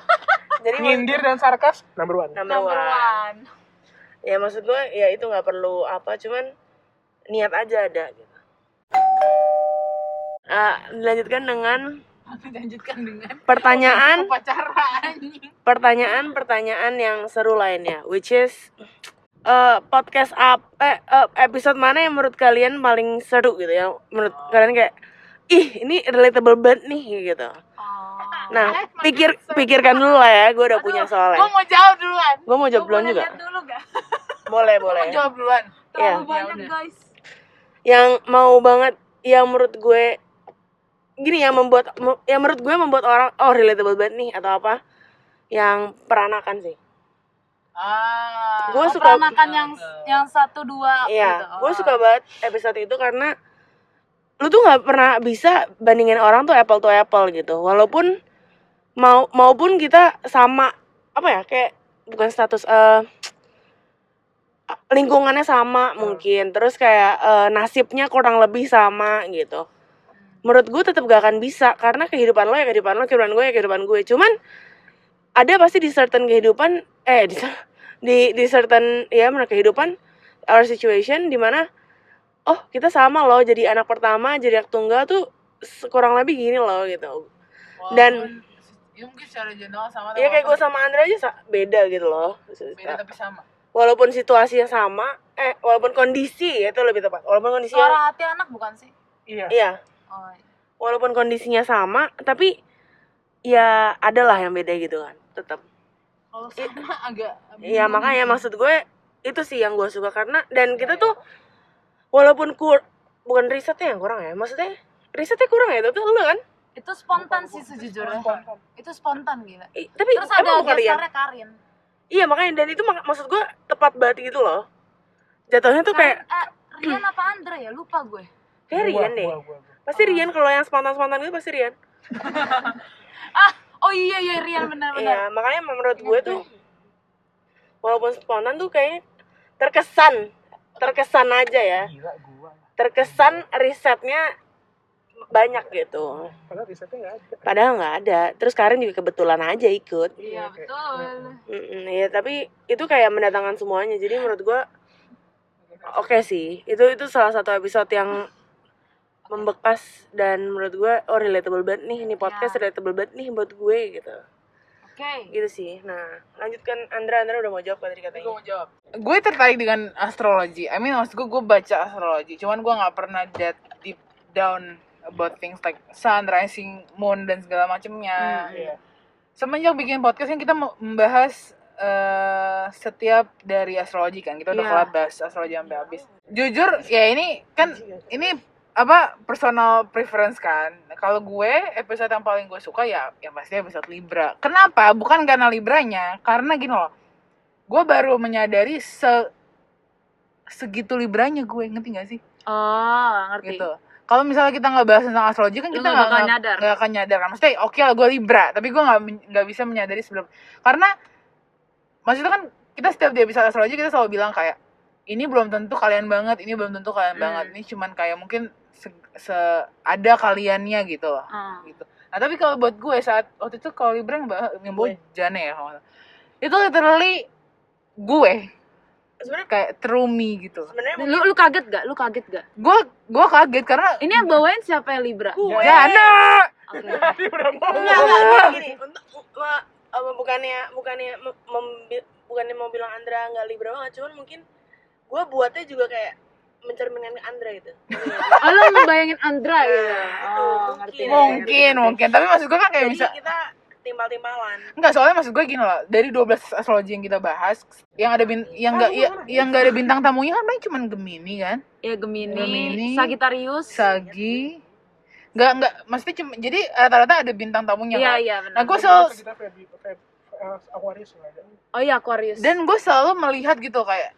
Speaker 3: jadi maksud-
Speaker 1: nyindir dan sarkas number one
Speaker 3: number
Speaker 4: Number
Speaker 3: one.
Speaker 4: one.
Speaker 3: ya maksud gue ya itu nggak perlu apa cuman niat aja ada gitu Eh, dilanjutkan dengan
Speaker 2: Lanjutkan dengan
Speaker 3: pertanyaan
Speaker 2: upacara anjing.
Speaker 3: pertanyaan pertanyaan yang seru lainnya which is eh, podcast up eh, eh, episode mana yang menurut kalian paling seru gitu ya menurut kalian kayak ih ini relatable banget nih gitu nah
Speaker 2: Eh, makin
Speaker 3: pikir
Speaker 2: seru.
Speaker 3: pikirkan dulu lah ya gue udah punya
Speaker 2: Gue
Speaker 3: soalnya
Speaker 2: mau jawab duluan.
Speaker 3: gue mau jawab
Speaker 4: Gua
Speaker 3: duluan
Speaker 4: boleh
Speaker 3: juga
Speaker 4: lihat dulu gak?
Speaker 3: boleh
Speaker 2: Gua
Speaker 3: boleh Iya.
Speaker 2: mau jawab duluan.
Speaker 4: Terlalu
Speaker 2: Ya,
Speaker 4: Oh. banyak
Speaker 2: udah.
Speaker 4: guys.
Speaker 3: yang mau banget yang menurut gue gini yang membuat me- yang menurut gue membuat orang oh relatable banget nih atau apa yang peranakan sih
Speaker 2: Ah.
Speaker 3: Gua
Speaker 4: Oh,
Speaker 3: suka-
Speaker 4: peranakan yang yang satu dua.
Speaker 3: Iya,
Speaker 4: gitu.
Speaker 3: gue
Speaker 4: Oh.
Speaker 3: suka banget episode itu karena lu tuh nggak pernah bisa bandingin orang tuh apple to apple gitu. Walaupun mau maupun kita sama apa ya kayak bukan status eh lingkungannya sama mungkin, terus kayak eh, nasibnya kurang lebih sama gitu. Menurut gue tetap gak akan bisa karena kehidupan lo ya kehidupan lo, kehidupan gue ya kehidupan gue. Cuman ada pasti di certain kehidupan eh di di, di certain ya menurut kehidupan our situation dimana oh kita sama loh jadi anak pertama jadi anak tunggal tuh se- kurang lebih gini loh gitu Dan-
Speaker 2: Walaupun- ya mungkin secara general sama
Speaker 3: ya kayak gue
Speaker 2: walaupun
Speaker 3: sama Andra aja sa- beda gitu loh
Speaker 2: beda tapi sama
Speaker 3: walaupun situasinya sama eh walaupun kondisi ya itu lebih tepat walaupun kondisinya
Speaker 4: Suara hati anak bukan sih?
Speaker 1: iya
Speaker 3: iya
Speaker 4: Oh.
Speaker 3: walaupun kondisinya sama tapi ya adalah yang beda gitu kan tetap
Speaker 2: kalau sama agak
Speaker 3: Iya
Speaker 2: bingung.
Speaker 4: Hmm.
Speaker 3: makanya maksud gue itu sih yang gue suka karena
Speaker 4: Iya,
Speaker 3: dan kita tuh walaupun kur bukan risetnya yang kurang ya maksudnya risetnya kurang ya itu tuh lu kan
Speaker 4: Itu spontan sih sejujurnya. Itu spontan gila.
Speaker 3: I- tapi
Speaker 4: Terus ada
Speaker 3: emang bukan Rian?
Speaker 4: gestarnya Karin.
Speaker 3: iya makanya dan itu mak- maksud gue tepat banget gitu loh jatuhnya tuh kayak
Speaker 4: Karin eh, Rian apa Andre ya? Lupa gue.
Speaker 3: kayak
Speaker 1: Gua,
Speaker 3: Rian deh
Speaker 1: gua, gua, gua.
Speaker 3: pasti
Speaker 4: Ah.
Speaker 3: Rian kalau yang spontan spontan gitu pasti Rian
Speaker 4: Oh iya iya Rian benar-benar.
Speaker 3: iya makanya menurut
Speaker 4: Ingat
Speaker 3: gue
Speaker 4: gue.
Speaker 3: tuh walaupun spontan tuh kayaknya terkesan terkesan aja ya
Speaker 1: gila gua
Speaker 3: terkesan risetnya banyak gitu
Speaker 1: padahal risetnya nggak ada
Speaker 3: Padahal nggak ada. Terus Karin juga kebetulan aja ikut.
Speaker 4: Iya
Speaker 1: kayak-
Speaker 4: betul.
Speaker 3: Mm-mm, ya tapi itu kayak mendatangkan semuanya. Jadi menurut gua oke sih. Itu itu salah satu episode yang membekas dan menurut gua oh relatable banget nih ini podcast relatable banget nih buat gue gitu.
Speaker 4: Oke.
Speaker 3: Gitu sih. Nah, lanjutkan Andra Andra udah mau jawab kan
Speaker 2: gue
Speaker 3: tadi katanya.
Speaker 2: mau jawab gue tertarik dengan astrologi I mean maksud gue gue baca astrologi cuman gue nggak pernah that deep down about things like sun rising moon dan segala macemnya
Speaker 1: iya.
Speaker 2: semenjak bikin podcast kan kita mau membahas eh, setiap dari astrologi kan kita udah
Speaker 3: Iya.
Speaker 2: kelar bahas astrologi sampai habis jujur ya ini kan ini apa personal preference kan kalau gue episode yang paling gue suka ya yang pasti episode Libra kenapa bukan karena Libranya karena gini loh gue baru menyadari se segitu Libranya gue ngerti gak sih
Speaker 4: Oh ngerti.
Speaker 2: gitu kalau misalnya kita nggak bahas tentang astrologi kan
Speaker 4: Lu
Speaker 2: kita
Speaker 4: nggak bakal
Speaker 2: nggak-
Speaker 4: nyadar.
Speaker 2: nggak akan nyadar kan maksudnya oke lah gue libra tapi gue nggak men- nggak bisa menyadari sebelum karena maksudnya kan kita setiap dia bisa astrologi kita selalu bilang kayak ini belum tentu kalian banget ini belum tentu kalian
Speaker 3: Hmm.
Speaker 2: banget ini cuman kayak mungkin se, se- ada kaliannya gitu loh
Speaker 4: Ah.
Speaker 2: gitu nah tapi kalau buat gue saat waktu itu kalau libra yang bah- yang bawa Jane ya kalau nggak salah. itu literally gue
Speaker 3: Sebenarnya
Speaker 2: kayak true me gitu
Speaker 3: sebenarnya mungkin
Speaker 4: Lu lu kaget gak? Lu kaget gak?
Speaker 2: gue gue kaget karena
Speaker 4: Ini yang bawain siapa ya Libra?
Speaker 3: gue Iya,
Speaker 2: Jana
Speaker 4: Oke.
Speaker 1: Tadi udah mau
Speaker 3: Enggak, enggak, gini, gini. Untuk ma- apa, bukannya bukannya mem- membi- bukannya mau bilang Andra nggak libra banget, cuman mungkin gue buatnya juga kayak mencerminkan Andra gitu.
Speaker 4: Oh, lu ngebayangin Andra gitu. Oh, ngerti.
Speaker 3: Iya. Mungkin.
Speaker 4: ngerti,
Speaker 2: mungkin
Speaker 4: ngerti.
Speaker 2: mungkin tapi maksud gue kan kayak
Speaker 3: iya, Jadi
Speaker 2: bisa
Speaker 3: kita timbal-timbalan.
Speaker 2: enggak soalnya maksud gue gini loh dari 12 astrologi yang kita bahas yang ada bin yang enggak ya- yang enggak ada bintang tamunya kan paling cuman Gemini kan
Speaker 4: Ya Gemini,
Speaker 2: Gemini.
Speaker 4: Sagittarius.
Speaker 2: Sagi enggak enggak maksudnya cuma jadi rata-rata ada bintang tamunya
Speaker 3: ya,
Speaker 4: Iya
Speaker 2: kan
Speaker 4: iya
Speaker 2: nah
Speaker 4: benar.
Speaker 2: gue selalu
Speaker 1: kita Febri Feb- eh, Aquarius nggak ada
Speaker 4: Oh iya Aquarius.
Speaker 2: dan gue selalu melihat gitu kayak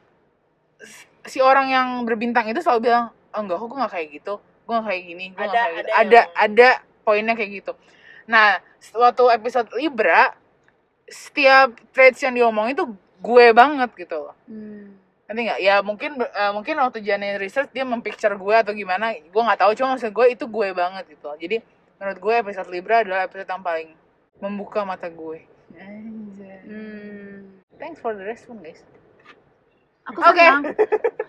Speaker 2: si orang yang berbintang itu selalu bilang oh enggak kok gue nggak kayak gitu gue gak kayak gini gue
Speaker 3: Ada-
Speaker 2: gak kayak gitu.
Speaker 3: ada
Speaker 2: ada
Speaker 3: yang-
Speaker 2: ada poinnya kayak gitu nah waktu episode libra setiap traits yang diomongin tuh gue banget gitu loh
Speaker 4: Hmm.
Speaker 2: nanti nggak ya mungkin eh, mungkin waktu jalanin research dia mempicture gue atau gimana gue nggak tahu cuma maksud gue itu gue banget gitu loh. jadi menurut gue episode libra adalah episode yang paling membuka mata gue Anjay. thanks for the respon guys
Speaker 4: Hmm. Aku
Speaker 2: Oke.
Speaker 4: senang.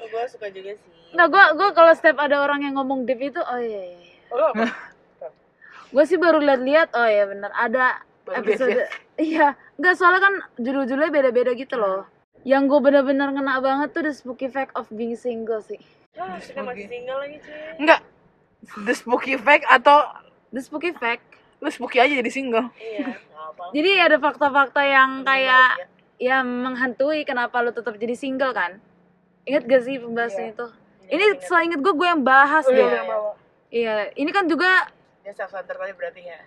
Speaker 3: gue suka juga sih
Speaker 4: Nah, gua gua kalau setiap ada orang yang ngomong deep itu, oh iya iya. iya.
Speaker 1: Lo apa?
Speaker 4: Gua sih baru lihat-lihat, oh iya bener ada
Speaker 3: ya?
Speaker 2: Baru
Speaker 4: episode. Iya, enggak soalnya kan judul-judulnya beda-beda gitu loh. Yang gue bener-bener ngena banget tuh The Spooky Fact of Being Single sih.
Speaker 3: ah kita masih single lagi cuy
Speaker 2: enggak the spooky fact atau
Speaker 4: The Spooky Fact.
Speaker 2: lu spooky aja jadi single
Speaker 3: iya nggak apa
Speaker 4: Jadi ada fakta-fakta yang kayak ya menghantui kenapa lu tetap jadi single kan? Ingat gak sih pembahasan itu? Ini seinget gue gue yang bahas
Speaker 1: Lo
Speaker 4: deh.
Speaker 1: yang bawa.
Speaker 4: Iya, ini kan juga
Speaker 3: ya self center tadi berarti ya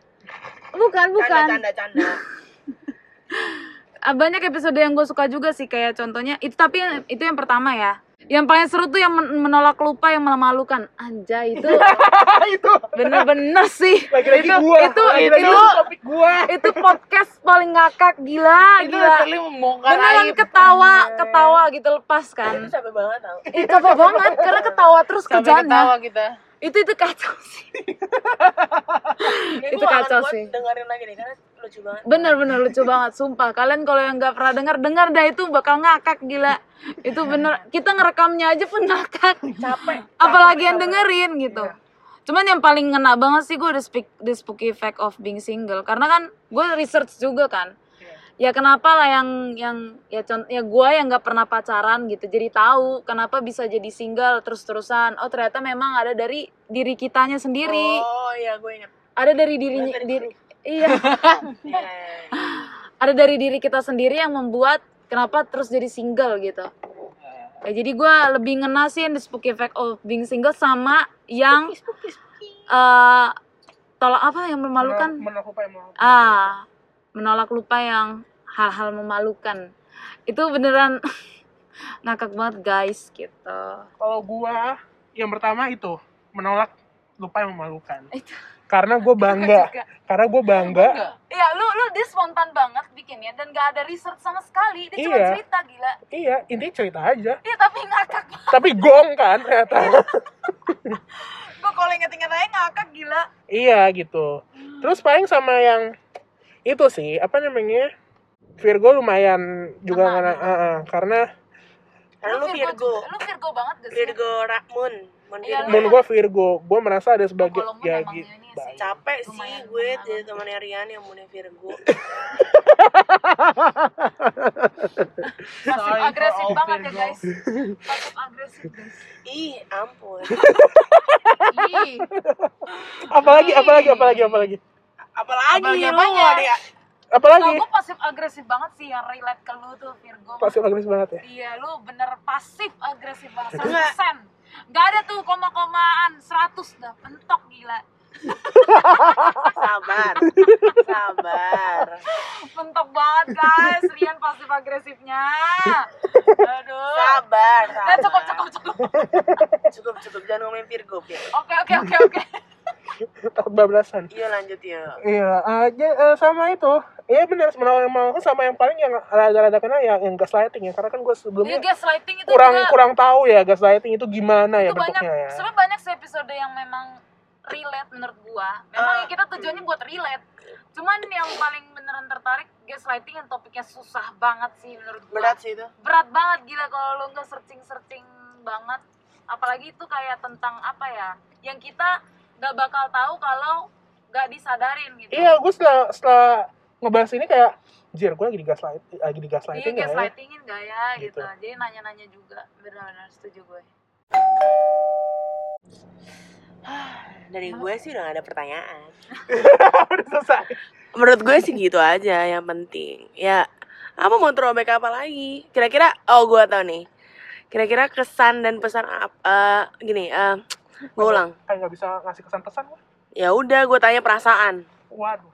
Speaker 4: bukan bukan.
Speaker 3: canda canda canda
Speaker 4: Ah, banyak episode yang gue suka juga sih kayak contohnya itu tapi yang- itu yang pertama ya yang paling seru tuh yang men- menolak lupa yang memalukan anjay itu
Speaker 1: Ah, itu.
Speaker 4: bener-bener sih
Speaker 1: Lagi-lagi
Speaker 2: Itu-
Speaker 1: gua.
Speaker 4: itu-
Speaker 1: Lagi-lagi
Speaker 4: itu-
Speaker 1: topik gua.
Speaker 4: itu podcast paling ngakak gila
Speaker 2: itu
Speaker 4: gila
Speaker 2: literally membongkar
Speaker 4: beneran
Speaker 2: aib
Speaker 4: ketawa ketawa gitu lepas
Speaker 3: itu
Speaker 4: kan
Speaker 3: sampai banget tau
Speaker 4: itu apa banget karena ketawa terus
Speaker 2: sampai
Speaker 4: kerjanya
Speaker 2: ketawa kita
Speaker 4: itu itu kacau sih
Speaker 3: Ini
Speaker 4: Itu
Speaker 3: gua akan
Speaker 4: kacau
Speaker 3: buat
Speaker 4: sih.
Speaker 3: dengerin lagi deh karena lucu banget
Speaker 4: bener-bener lucu banget sumpah kalian kalau yang nggak pernah dengar dengar dah itu bakal ngakak gila itu bener kita ngerekamnya aja pun ngakak
Speaker 3: capek Iya.
Speaker 4: apalagi yang dengerin gitu. Cuman yang paling ngena banget sih gue the, speak, the spooky fact of being single karena kan gue research juga kan.
Speaker 3: Iya.
Speaker 4: Ya kenapa lah yang yang ya contoh ya gue yang nggak pernah pacaran gitu jadi tahu kenapa bisa jadi single terus terusan. Oh ternyata memang ada dari diri kitanya sendiri,
Speaker 3: oh iya gue inget
Speaker 4: ada dari dirinya
Speaker 3: Dari
Speaker 4: diri,
Speaker 3: grup.
Speaker 4: iya
Speaker 3: Iya.
Speaker 4: ada dari diri kita sendiri yang membuat kenapa terus jadi single gitu. Ya, jadi gue lebih ngena sih yang the spooky effect of being single sama yang eh tolak apa yang memalukan
Speaker 1: Menolak lupa yang memalukan.
Speaker 4: ah menolak lupa yang hal-hal memalukan itu beneran ngakak banget guys gitu
Speaker 1: Kalau gua yang pertama itu menolak lupa yang memalukan.
Speaker 4: Itu.
Speaker 1: Karena gua bangga. Karena gua bangga.
Speaker 4: Iya, lu lu dia spontan banget bikinnya dan gak ada research sama sekali. Dia cuma
Speaker 1: Iya.
Speaker 4: cerita gila.
Speaker 1: Iya, intinya cerita aja.
Speaker 4: Iya, tapi ngakak.
Speaker 1: Tapi gong kan ternyata.
Speaker 4: Gue kalau inget-inget aja ngakak gila.
Speaker 1: iya gitu.
Speaker 4: Hmm.
Speaker 1: Terus paling sama yang itu sih, apa namanya? Virgo lumayan juga
Speaker 4: Kena,
Speaker 1: karena karena
Speaker 3: karena lu Virgo
Speaker 4: juga- Lu Virgo banget gak sih?
Speaker 3: Virgo Ra- Moon Moon
Speaker 4: Iya,
Speaker 3: Virgo.
Speaker 4: lu-
Speaker 1: menurut gua Virgo, gua merasa ada sebagai
Speaker 4: Kalau Moon
Speaker 1: ya
Speaker 4: emang
Speaker 1: gitu.
Speaker 4: ini sih.
Speaker 1: baik.
Speaker 3: capek sih
Speaker 4: Lumayan,
Speaker 3: gue
Speaker 4: lumayan.
Speaker 3: jadi temannya Rian yang Moonnya Virgo
Speaker 1: Sorry
Speaker 4: Pasif
Speaker 1: for
Speaker 4: agresif
Speaker 3: oh,
Speaker 1: all
Speaker 4: banget ya
Speaker 1: Virgo.
Speaker 4: guys. Pasif agresif guys.
Speaker 3: ih ampun
Speaker 2: Ih,
Speaker 1: Apalagi apalagi
Speaker 4: Iya.
Speaker 1: apalagi apalagi.
Speaker 3: apalagi
Speaker 2: Apalagi
Speaker 3: lu
Speaker 2: apanya?
Speaker 3: ada
Speaker 4: Kalau
Speaker 1: Apalagi
Speaker 4: gue pasif agresif banget sih yang relate ke lu tuh Virgo.
Speaker 1: pasti agresif banget ya.
Speaker 4: Iya, lu bener pasif agresif banget.
Speaker 3: Enggak.
Speaker 4: 100%. Gak ada tuh koma-komaan 100 dah pentok gila.
Speaker 3: sabar sabar
Speaker 4: Pentok banget guys, Rian pasif agresifnya. Aduh.
Speaker 3: sabar
Speaker 4: Nah,
Speaker 3: sabar
Speaker 4: cukup cukup cukup.
Speaker 3: cukup cukup jangan ngomongin Virgo Pir
Speaker 4: Oke oke oke oke.
Speaker 1: Takut bablasan.
Speaker 3: yuk lanjut yuk
Speaker 1: Iya, aja eh, sama itu. Iya benar menolak yang memalukan sama yang paling yang rada-rada kena yang, yang gaslighting ya. Karena kan gue
Speaker 4: Iya
Speaker 1: sebelumnya
Speaker 4: gaslighting itu
Speaker 1: kurang
Speaker 4: juga
Speaker 1: kurang tahu ya gaslighting itu gimana ya
Speaker 4: itu banyak
Speaker 1: bentuknya ya.
Speaker 4: sebenarnya banyak sih episode yang memang relate menurut gua
Speaker 3: Ah,
Speaker 4: memang kita tujuannya buat relate cuman yang paling beneran tertarik gaslighting yang topiknya susah banget sih menurut gua
Speaker 3: berat sih itu
Speaker 4: Berat banget gila kalau lu nggak searching searching banget apalagi itu kayak tentang apa ya yang kita nggak bakal tahu kalau nggak disadarin gitu
Speaker 1: Iya, gue setelah setelah ngebahas ini kayak jir gue lagi di gaslight lagi di
Speaker 4: Iya,
Speaker 1: gaslighting ya.
Speaker 4: gaslightingin gak ya gitu.
Speaker 1: Gitu.
Speaker 4: Jadi nanya-nanya juga, benar-benar setuju gue.
Speaker 3: dari gue sih udah gak ada pertanyaan
Speaker 1: Udah selesai.
Speaker 3: menurut gue sih gitu aja yang penting ya apa mau throwback apa lagi kira-kira oh gue tau nih kira-kira kesan dan pesan ap- eh, gini eh gue ulang
Speaker 1: Kayak nggak bisa ngasih kesan pesan gua.
Speaker 3: ya udah gue tanya perasaan
Speaker 1: Waduh.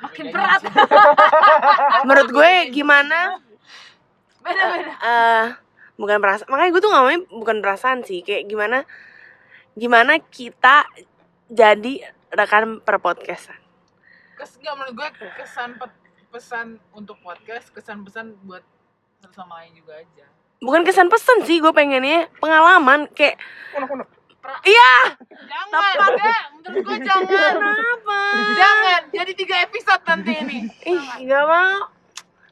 Speaker 4: Makin berat,
Speaker 3: menurut gue gimana
Speaker 4: beda-beda.
Speaker 3: eh bukan perasaan makanya gue tuh ngomongnya bukan perasaan sih kayak gimana gimana kita jadi rekan per podcast
Speaker 2: Kes, nggak, menurut gue kesan pe- pesan untuk podcast, kesan pesan buat satu sama lain juga aja.
Speaker 3: bukan kesan pesan sih gue pengennya pengalaman kayak "Iya!"
Speaker 1: Unek-unek.
Speaker 2: Jangan, enggak, menurut gue jangan.
Speaker 3: kenapa
Speaker 2: jangan, jadi tiga episode nanti ini.
Speaker 3: ih gak mau gak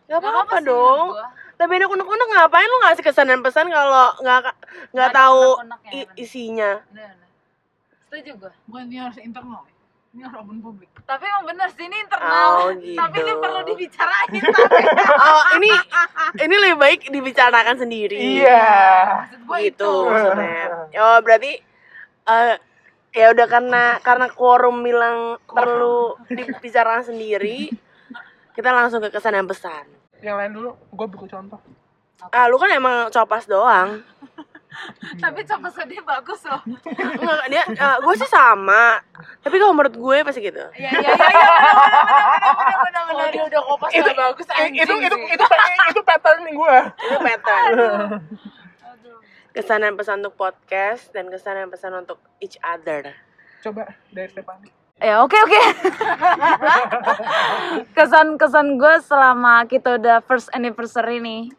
Speaker 4: Nggak
Speaker 3: apa-apa
Speaker 4: sih
Speaker 3: dong
Speaker 4: menurut gua.
Speaker 3: lebih enak unek-unek ngapain lu ngasih kesan dan pesan kalau nggak nggak
Speaker 4: ada
Speaker 3: tahu
Speaker 4: unek-uneknya,
Speaker 3: i-
Speaker 4: bener.
Speaker 3: isinya
Speaker 4: Bener, bener. setuju gue
Speaker 2: Bukan ini harus internal, ya. ini harus open publik.
Speaker 4: tapi emang bener sih ini internal
Speaker 3: Oh, gitu.
Speaker 4: tapi ini perlu dibicarain tapi
Speaker 3: oh ini ini lebih baik dibicarakan sendiri
Speaker 1: Iya.
Speaker 2: Maksud gue
Speaker 3: gitu
Speaker 2: itu.
Speaker 3: maksudnya oh berarti eh, ya udah karena karena quorum bilang perlu dibicarakan sendiri kita langsung ke kesan dan pesan
Speaker 1: Iya. Yang lain dulu, gue butuh contoh.
Speaker 3: ah lu kan emang copas doang
Speaker 4: tapi coba sedih bagus loh
Speaker 3: Enggak, dia gue sih sama tapi kalau menurut gue pasti gitu
Speaker 4: ya ya ya ya
Speaker 2: Kalau dia udah kopas nggak bagus,
Speaker 1: Eh,
Speaker 2: anjing
Speaker 1: itu itu
Speaker 2: sih.
Speaker 1: itu pa- itu pattern gue.
Speaker 3: itu pattern
Speaker 4: Aduh.
Speaker 3: kesan dan pesan untuk podcast dan kesan dan pesan untuk each other
Speaker 1: Coba dari Stefani.
Speaker 4: Ya oke oke. Kesan-kesan gue selama kita udah first anniversary nih.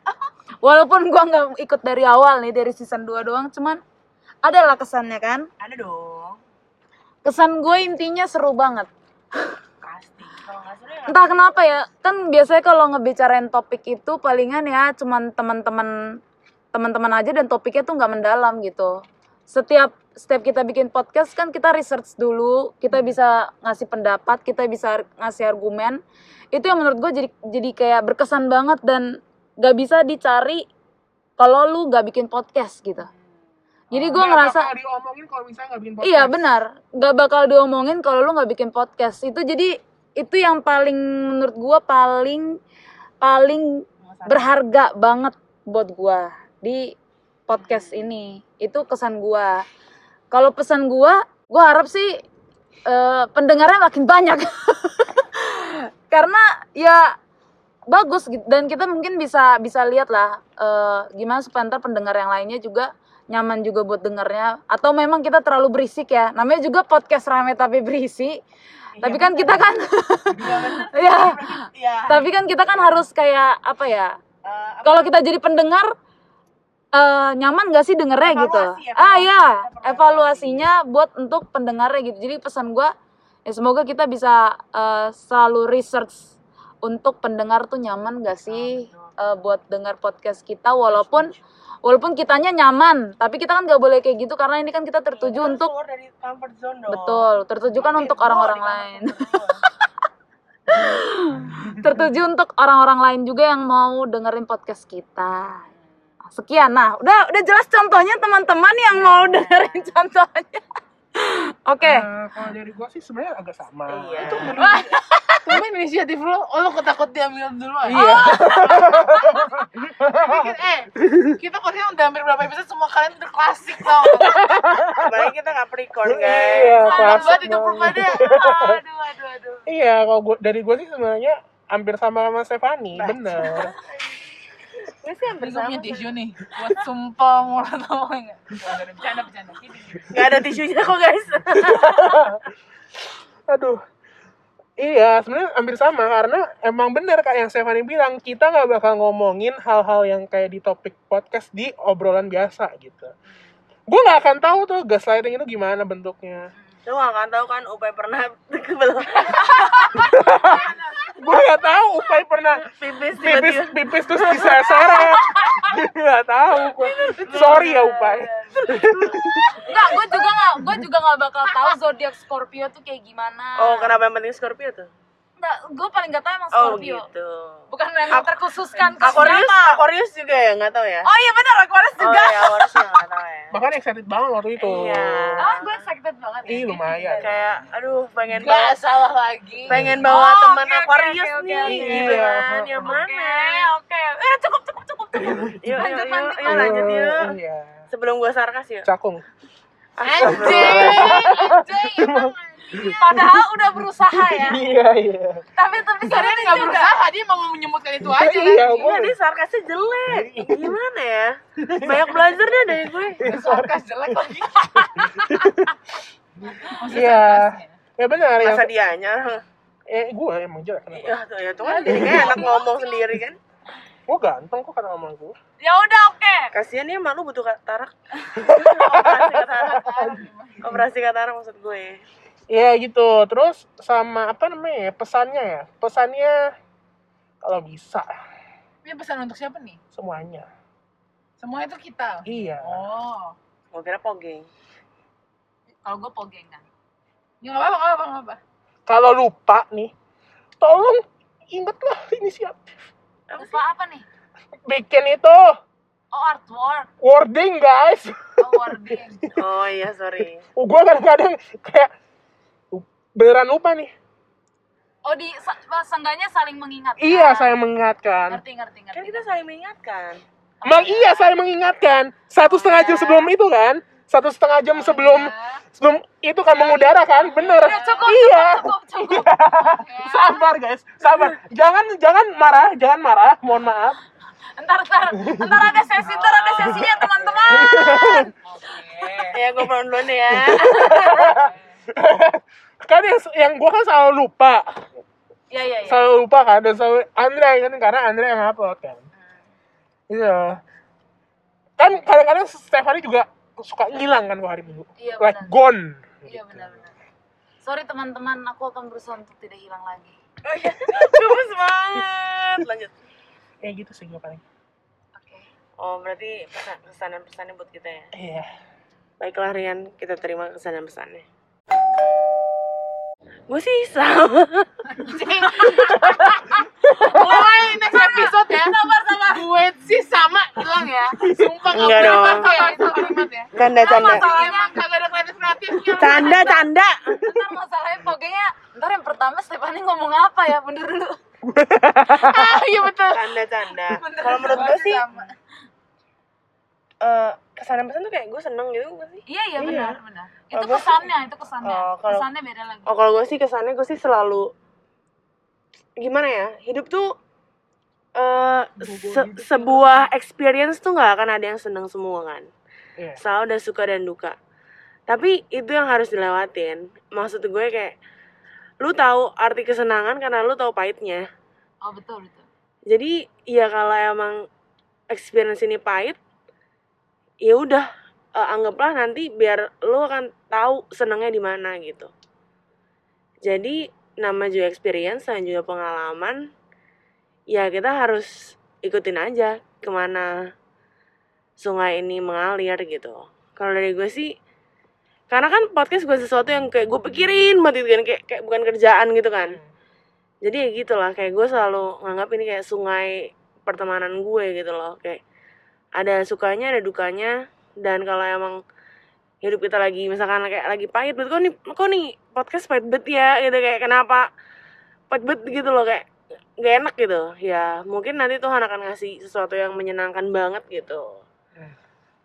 Speaker 4: Walaupun gue nggak ikut dari awal nih dari season 2 doang, cuman adalah kesannya kan.
Speaker 2: Ada dong,
Speaker 4: Kesan gue intinya seru banget.
Speaker 2: pasti. Kalau nggak seru ya
Speaker 4: Entah kenapa ya, kan biasanya kalau ngebicarain topik itu palingan ya cuman teman-teman teman-teman aja dan topiknya tuh nggak mendalam gitu. Setiap setiap kita bikin podcast kan kita research dulu, kita bisa ngasih pendapat, kita bisa ngasih argumen. Itu yang menurut gue jadi jadi kayak berkesan banget dan gak bisa dicari kalau lu gak bikin podcast gitu. Jadi gue
Speaker 1: Ini
Speaker 4: ngerasa
Speaker 1: bakal diomongin kalau misalnya nggak bikin podcast.
Speaker 4: Iya benar, gak bakal diomongin kalau lu nggak bikin podcast. Itu jadi itu yang paling menurut gua paling paling berharga banget buat gua di podcast ini. Itu kesan gua. Kalau pesan gua, gua harap sih eh, pendengarnya makin banyak. Karena ya bagus gitu. dan kita mungkin bisa bisa lihat lah eh, gimana supaya ntar pendengar yang lainnya juga nyaman juga buat dengarnya atau memang kita terlalu berisik ya namanya juga podcast rame tapi berisi tapi kan kita kan ya
Speaker 2: Iya.
Speaker 4: tapi kan kita kan harus kayak apa ya
Speaker 2: Eh,
Speaker 4: kalau kita jadi pendengar eh, nyaman gak sih dengernya gitu
Speaker 2: Evaluasi, evaluasi.
Speaker 4: ah ya
Speaker 2: Evaluasi.
Speaker 4: evaluasinya buat untuk pendengarnya gitu jadi pesan gua ya semoga kita bisa eh, selalu research untuk pendengar tuh nyaman
Speaker 2: Ah,
Speaker 4: gak sih eh, buat dengar podcast kita walaupun walaupun kitanya nyaman tapi kita kan gak boleh kayak gitu karena ini kan kita tertuju
Speaker 2: Iya,
Speaker 4: untuk
Speaker 3: keluar dari comfort zone dong
Speaker 4: betul tertuju kan
Speaker 3: Mampir
Speaker 4: untuk
Speaker 3: gua
Speaker 4: orang-orang
Speaker 3: di comfort
Speaker 4: lain
Speaker 3: zone gua.
Speaker 4: tertuju untuk orang-orang lain juga yang mau dengerin podcast kita. Sekian. Nah, udah udah jelas contohnya teman-teman yang mau dengerin contohnya. Oke.
Speaker 1: Eh, kalau dari gue sih sebenarnya agak sama.
Speaker 3: Iya.
Speaker 1: Itu menurut
Speaker 2: Cuma inisiatif lo, oh, lo ketakut diambil dulu aja.
Speaker 1: Iya.
Speaker 2: Bikin, eh, kita podcast udah hampir berapa episode, semua kalian udah klasik tau. Kangen
Speaker 3: apalagi kita Capricorn guys
Speaker 1: Iya,
Speaker 2: banget
Speaker 1: klasik
Speaker 2: hidup
Speaker 1: banget.
Speaker 2: perpada. Aduh, aduh, aduh.
Speaker 1: Iya, kalau gua, dari gue sih sebenarnya hampir sama sama Stefani, bener.
Speaker 3: gue sih hampir
Speaker 2: Tapi gue
Speaker 3: sama
Speaker 2: punya tisu nih, buat sumpah murah tau enggak? Bercanda, bercanda.
Speaker 3: nggak ada tisunya kok guys
Speaker 1: Aduh. Iya, sebenarnya hampir sama karena emang bener kayak yang Stefani bilang kita nggak bakal ngomongin hal-hal yang kayak di topik podcast di obrolan biasa gitu. Gue nggak akan tahu tuh gaslighting itu gimana bentuknya.
Speaker 3: lu gak akan tahu kan Upe pernah belum
Speaker 1: Gue nggak tahu Upai pernah
Speaker 3: pipis
Speaker 1: pipis
Speaker 3: tiba-tiba
Speaker 1: pipis terus diseret. nggak tahu gue. Sorry ya Upai.
Speaker 4: Enggak, gue juga nggak gue juga nggak bakal tahu zodiak Scorpio tuh kayak gimana.
Speaker 3: oh kenapa yang penting Scorpio tuh
Speaker 4: Enggak, gue paling nggak tahu emang
Speaker 3: oh
Speaker 4: Scorpio.
Speaker 3: gitu
Speaker 4: Bukan memang terkhususkan ke
Speaker 3: Aquarius
Speaker 4: berapa.
Speaker 3: Aquarius juga ya nggak tahu ya
Speaker 4: Oh iya benar Aquarius
Speaker 3: oh
Speaker 4: juga.
Speaker 3: ya Aquarius juga nggak tahu ya
Speaker 1: Bahkan excited banget waktu itu.
Speaker 3: Iya.
Speaker 4: Ah, gue excited banget.
Speaker 1: Ih lumayan.
Speaker 3: kayak aduh pengen bawa
Speaker 2: Gak salah lagi.
Speaker 3: pengen bawa
Speaker 4: Oh,
Speaker 3: teman
Speaker 4: oke, oke,
Speaker 3: Aquarius nih
Speaker 4: oke, oke,
Speaker 1: oke.
Speaker 3: gitu
Speaker 1: Iya.
Speaker 3: kan yang
Speaker 4: Oke,
Speaker 3: mana
Speaker 4: oke. Eh, cukup cukup cukup cukup.
Speaker 3: yuk
Speaker 4: Lanjut,
Speaker 3: lanjut
Speaker 4: lanjut,
Speaker 3: yuk lanjut yuk
Speaker 1: Iya.
Speaker 3: sebelum gua sarkas yuk
Speaker 1: Cakung.
Speaker 2: Anjing, anjing, emang
Speaker 4: Padahal udah berusaha ya.
Speaker 1: Iya, iya.
Speaker 4: Tapi
Speaker 2: Kalian
Speaker 4: tapi sebenarnya
Speaker 2: nggak
Speaker 4: juga-
Speaker 2: berusaha, dia mau menyemutkan itu aja.
Speaker 1: Iya,
Speaker 2: kan?
Speaker 1: boleh.
Speaker 3: Enggak, dia sarkasnya jelek. Gimana ya? Banyak belajar dah dari gue.
Speaker 2: Sarkas Kan? jelek lagi.
Speaker 1: Iya. Ya benar ya.
Speaker 3: Masa dianya.
Speaker 1: Eh, gue emang jelek kenapa?
Speaker 3: Ya, tuh, ya tuh kan jadi kayak enak ngomong sendiri kan.
Speaker 1: Gue ganteng kok karena ngomong gue.
Speaker 4: Ya udah oke.
Speaker 3: Kasihan ya malu butuh katarak. Operasi kan. katarak. Operasi katarak maksud gue.
Speaker 1: Iya gitu. Terus sama apa namanya? ya, Pesannya ya. Pesannya kalau bisa
Speaker 2: Ini pesan untuk siapa nih?
Speaker 1: semuanya.
Speaker 2: Semua itu kita.
Speaker 1: Iya.
Speaker 2: Oh.
Speaker 3: Gue kira pogeng.
Speaker 4: Kalau gue pogengan.
Speaker 2: Ya nggak apa-apa, nggak apa-apa, nggak apa.
Speaker 1: Kalau lupa nih, tolong ingatlah ini siapa.
Speaker 4: Lupa apa nih?
Speaker 1: Bikin itu
Speaker 4: Oh artwork,
Speaker 1: wording guys.
Speaker 4: oh wording.
Speaker 3: Oh iya, sorry.
Speaker 1: Oh, gue kadang-kadang kayak beneran lupa nih.
Speaker 4: Oh di sa- seenggaknya saling mengingatkan.
Speaker 1: Iya, saya mengingatkan.
Speaker 4: Ngerti ngerti ngerti.
Speaker 3: Kan kita saling mengingatkan.
Speaker 1: Emang iya saya mengingatkan. Satu setengah jam sebelum itu kan? Satu setengah jam sebelum sebelum itu kan mengudara kan? Bener.
Speaker 4: Udah cukup
Speaker 1: iya.
Speaker 4: cukup cukup. Ya.
Speaker 1: Sabar guys, sabar. Jangan jangan marah, jangan marah. Mohon maaf.
Speaker 4: Ntar ntar ntar ada sesi ntar ada sesinya teman-teman.
Speaker 3: Ya, gue pulang duluan deh ya.
Speaker 1: Kan yang yang gue kan selalu lupa,
Speaker 4: Iya iya iya.
Speaker 1: selalu lupa kan dan selalu Andre kan karena Andre yang upload kan. Iya. Kan kadang-kadang Stefani juga suka ngilang kan gua hari minggu.
Speaker 4: Iya,
Speaker 1: like
Speaker 4: benar.
Speaker 1: gone. Gitu.
Speaker 4: Iya benar-benar. Sorry teman-teman, aku akan berusaha untuk tidak hilang lagi.
Speaker 3: Gemes banget. Lanjut.
Speaker 1: Kayak gitu sih gue paling.
Speaker 4: Oke.
Speaker 3: Oh, berarti pesan- pesan dan pesannya buat kita ya.
Speaker 1: Iya.
Speaker 3: Baiklah Rian, kita terima kesan dan pesannya. Gue sih sama.
Speaker 2: Gue next episode ya. Sabar, sabar. Gue sih sama doang ya. Sumpah kamu
Speaker 3: Enggak dong.
Speaker 2: kalimat ya, itu kalimat ya.
Speaker 3: Canda, canda.
Speaker 2: Kalau emang kagak ada kreatif ya. kreatifnya.
Speaker 3: Canda, canda.
Speaker 4: Ntar masalahnya pokoknya ntar yang pertama Stefani ngomong apa ya? Mundur dulu.
Speaker 2: Ah, iya betul.
Speaker 3: Canda, canda. Kalau menurut gue sih, eh kesan dan pesan tuh kayak gue seneng gitu gue sih.
Speaker 4: Iya iya benar benar. Itu
Speaker 3: Kalau gua-
Speaker 4: kesannya, itu kesannya.
Speaker 3: Oh, kalau-
Speaker 4: Kesannya beda lagi.
Speaker 3: Oh kalau gue sih kesannya gue sih selalu gimana ya hidup tuh eh se- sebuah experience tuh nggak akan ada yang seneng semua kan.
Speaker 1: Iya.
Speaker 3: Selalu ada suka dan duka. Tapi itu yang harus dilewatin. Maksud gue kayak lu tahu arti kesenangan karena lu tahu pahitnya.
Speaker 4: Oh betul betul.
Speaker 3: jadi ya kalau emang experience ini pahit ya udah eh, anggaplah nanti biar lo akan tahu senangnya di mana gitu jadi nama juga experience dan juga pengalaman ya kita harus ikutin aja kemana sungai ini mengalir gitu kalau dari gue sih karena kan podcast gue sesuatu yang kayak gue pikirin banget gitu kan kayak, kayak bukan kerjaan gitu kan jadi ya gitu lah kayak gue selalu nganggap ini kayak sungai pertemanan gue gitu loh kayak ada sukanya ada dukanya dan kalau emang hidup kita lagi misalkan kayak lagi pahit banget kok nih kok nih podcast pahit banget ya gitu kayak kenapa pahit banget gitu loh kayak gak enak gitu ya mungkin nanti Tuhan akan ngasih sesuatu yang menyenangkan banget gitu
Speaker 1: Hmm.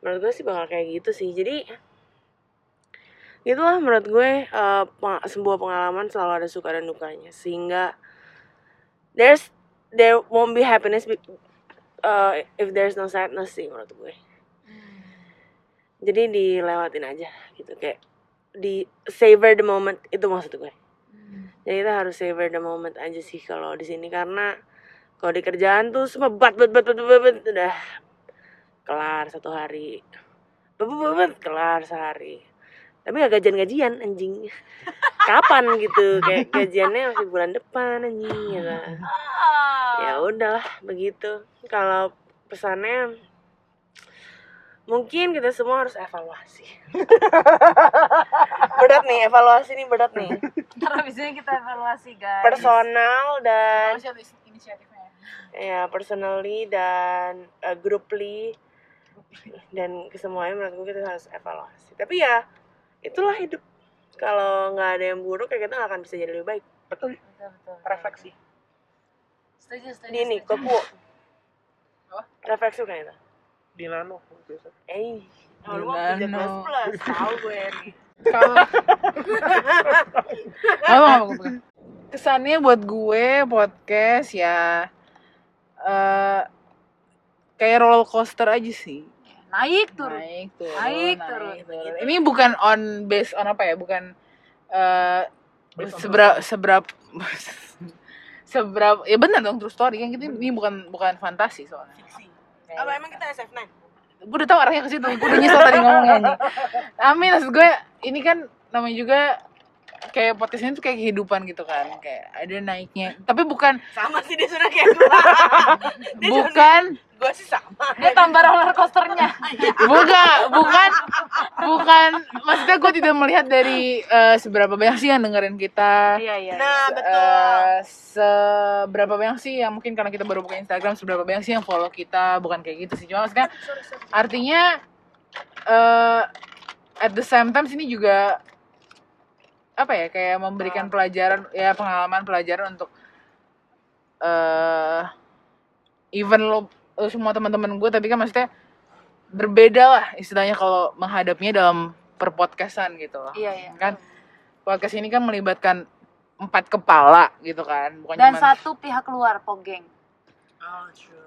Speaker 3: menurut gue sih bakal kayak gitu sih jadi gitulah menurut gue eh, peng- sebuah pengalaman selalu ada suka dan dukanya sehingga there's there won't be happiness be- uh, if there's no sadness sih menurut gue jadi dilewatin aja gitu kayak di savor the moment itu maksud gue jadi kita harus savor the moment aja sih kalau di sini karena kalau di kerjaan tuh semua bat bat bat bat bat, bat, udah kelar satu hari bat bat, bat, bat, kelar sehari tapi gak gajian gajian anjing kapan gitu kayak gajiannya masih bulan depan anjing gitu ya udahlah begitu kalau pesannya mungkin kita semua harus evaluasi berat nih evaluasi nih berat nih
Speaker 4: Ntar abis ini kita evaluasi guys.
Speaker 3: personal dan
Speaker 2: inisiatifnya.
Speaker 3: ya personally dan uh, grouply dan kesemuanya menurut gue kita harus evaluasi tapi ya itulah hidup kalau nggak ada yang buruk ya kita nggak akan bisa jadi lebih baik
Speaker 4: Betul betul.
Speaker 1: Refleksi.
Speaker 4: Setuju setuju.
Speaker 3: di ini
Speaker 4: setuju.
Speaker 3: kuku
Speaker 2: Apa?
Speaker 3: refleksi kan itu
Speaker 1: di Nano biasa.
Speaker 3: Eh, kalau lu
Speaker 2: Gila,
Speaker 3: mah tiga belas
Speaker 2: no.
Speaker 3: belas, tahu gue nih.
Speaker 2: Kalau apa, apa, apa. kesannya buat gue podcast ya eh kayak roller coaster aja sih.
Speaker 4: naik turun
Speaker 2: Naik turun.
Speaker 4: Naik, turun.
Speaker 2: gitu. Ini bukan on based on apa ya? Bukan eh
Speaker 1: Based on
Speaker 2: sebera seberapa seberapa ya benar dong true story kan gitu ini bukan bukan fantasi soalnya.
Speaker 3: Fiksi.
Speaker 2: Kayak-
Speaker 3: Apa emang kita SF9?
Speaker 2: gue udah tahu arahnya ke situ gue udah nyesel tadi ngomongnya nih amin maksud gue ini kan namanya juga kayak podcast ini tuh kayak kehidupan gitu kan kayak ada naiknya tapi bukan
Speaker 3: Sama sih dia sudah kayak gue. Dia sudah-
Speaker 2: bukan
Speaker 3: Gue sih sama.
Speaker 4: dia tambah roller coasternya
Speaker 2: bukan bukan bukan maksudnya gue tidak melihat dari eh, seberapa banyak sih yang dengerin kita
Speaker 4: iya iya
Speaker 3: Nah, betul.
Speaker 2: Eh, seberapa banyak sih yang mungkin karena kita baru buka Instagram seberapa banyak sih yang follow kita bukan kayak gitu sih cuma maksudnya artinya eh at the same time sini juga apa ya kayak memberikan pelajaran ya pengalaman pelajaran untuk eh even lo, lo semua teman-teman gue tapi kan maksudnya berbeda lah istilahnya kalau menghadapinya dalam perpodcastan gitu loh
Speaker 4: iya iya
Speaker 2: kan podcast ini kan melibatkan empat kepala gitu kan bukan cuman-
Speaker 4: dan satu pihak luar pogeng
Speaker 3: Oh, true.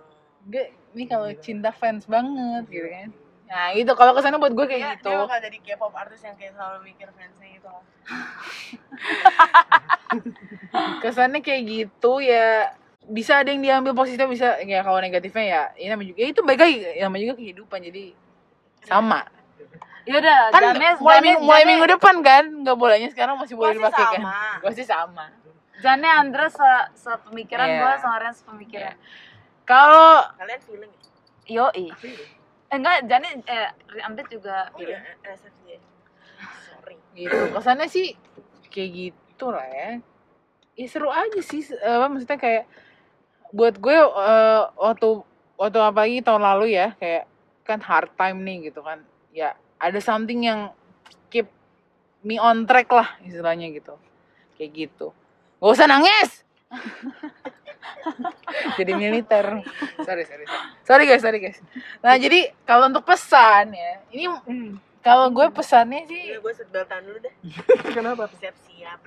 Speaker 2: Gue- ini kalau cinta fans banget gitu kan nah itu kalau kesana buat gue kayak
Speaker 3: Dia,
Speaker 2: gitu
Speaker 3: dia bakal jadi K-pop artis yang kayak selalu mikir fansnya gitu loh.
Speaker 2: kesannya kayak gitu ya bisa ada yang diambil positifnya bisa ya kalau negatifnya ya ini namanya juga ya itu baik lagi namanya juga kehidupan jadi sama
Speaker 4: yaudah
Speaker 2: kan
Speaker 4: Janes
Speaker 2: mulai
Speaker 4: Janes-
Speaker 2: minggu, mulai
Speaker 4: Janes-
Speaker 2: minggu depan kan nggak bolanya sekarang masih
Speaker 3: Gue
Speaker 2: boleh
Speaker 3: sih
Speaker 2: dipakai kan
Speaker 3: sama.
Speaker 2: gue sih sama
Speaker 4: Jane Andres se sepemikiran
Speaker 2: Iya.
Speaker 4: gue sama Ren sepemikiran.
Speaker 2: kalau
Speaker 3: Kalian feeling ya?
Speaker 4: Yoi. Eh, enggak, Jane eh Ren Andres juga
Speaker 3: Oh iya, SF9. Sorry.
Speaker 2: gitu kesannya sih kayak gitu lah ya ya seru aja sih se- apa maksudnya kayak buat gue eh, waktu waktu apa lagi tahun lalu ya kayak kan hard time nih gitu kan ya ada something yang keep me on track lah istilahnya gitu kayak gitu gak usah nangis jadi militer sorry sorry sorry. sorry guys sorry guys nah jadi kalau untuk pesan ya ini kalau gue pesannya sih
Speaker 3: Iya, gue seatbelt tahan dulu deh.
Speaker 1: Kenapa?
Speaker 3: Siap-siap.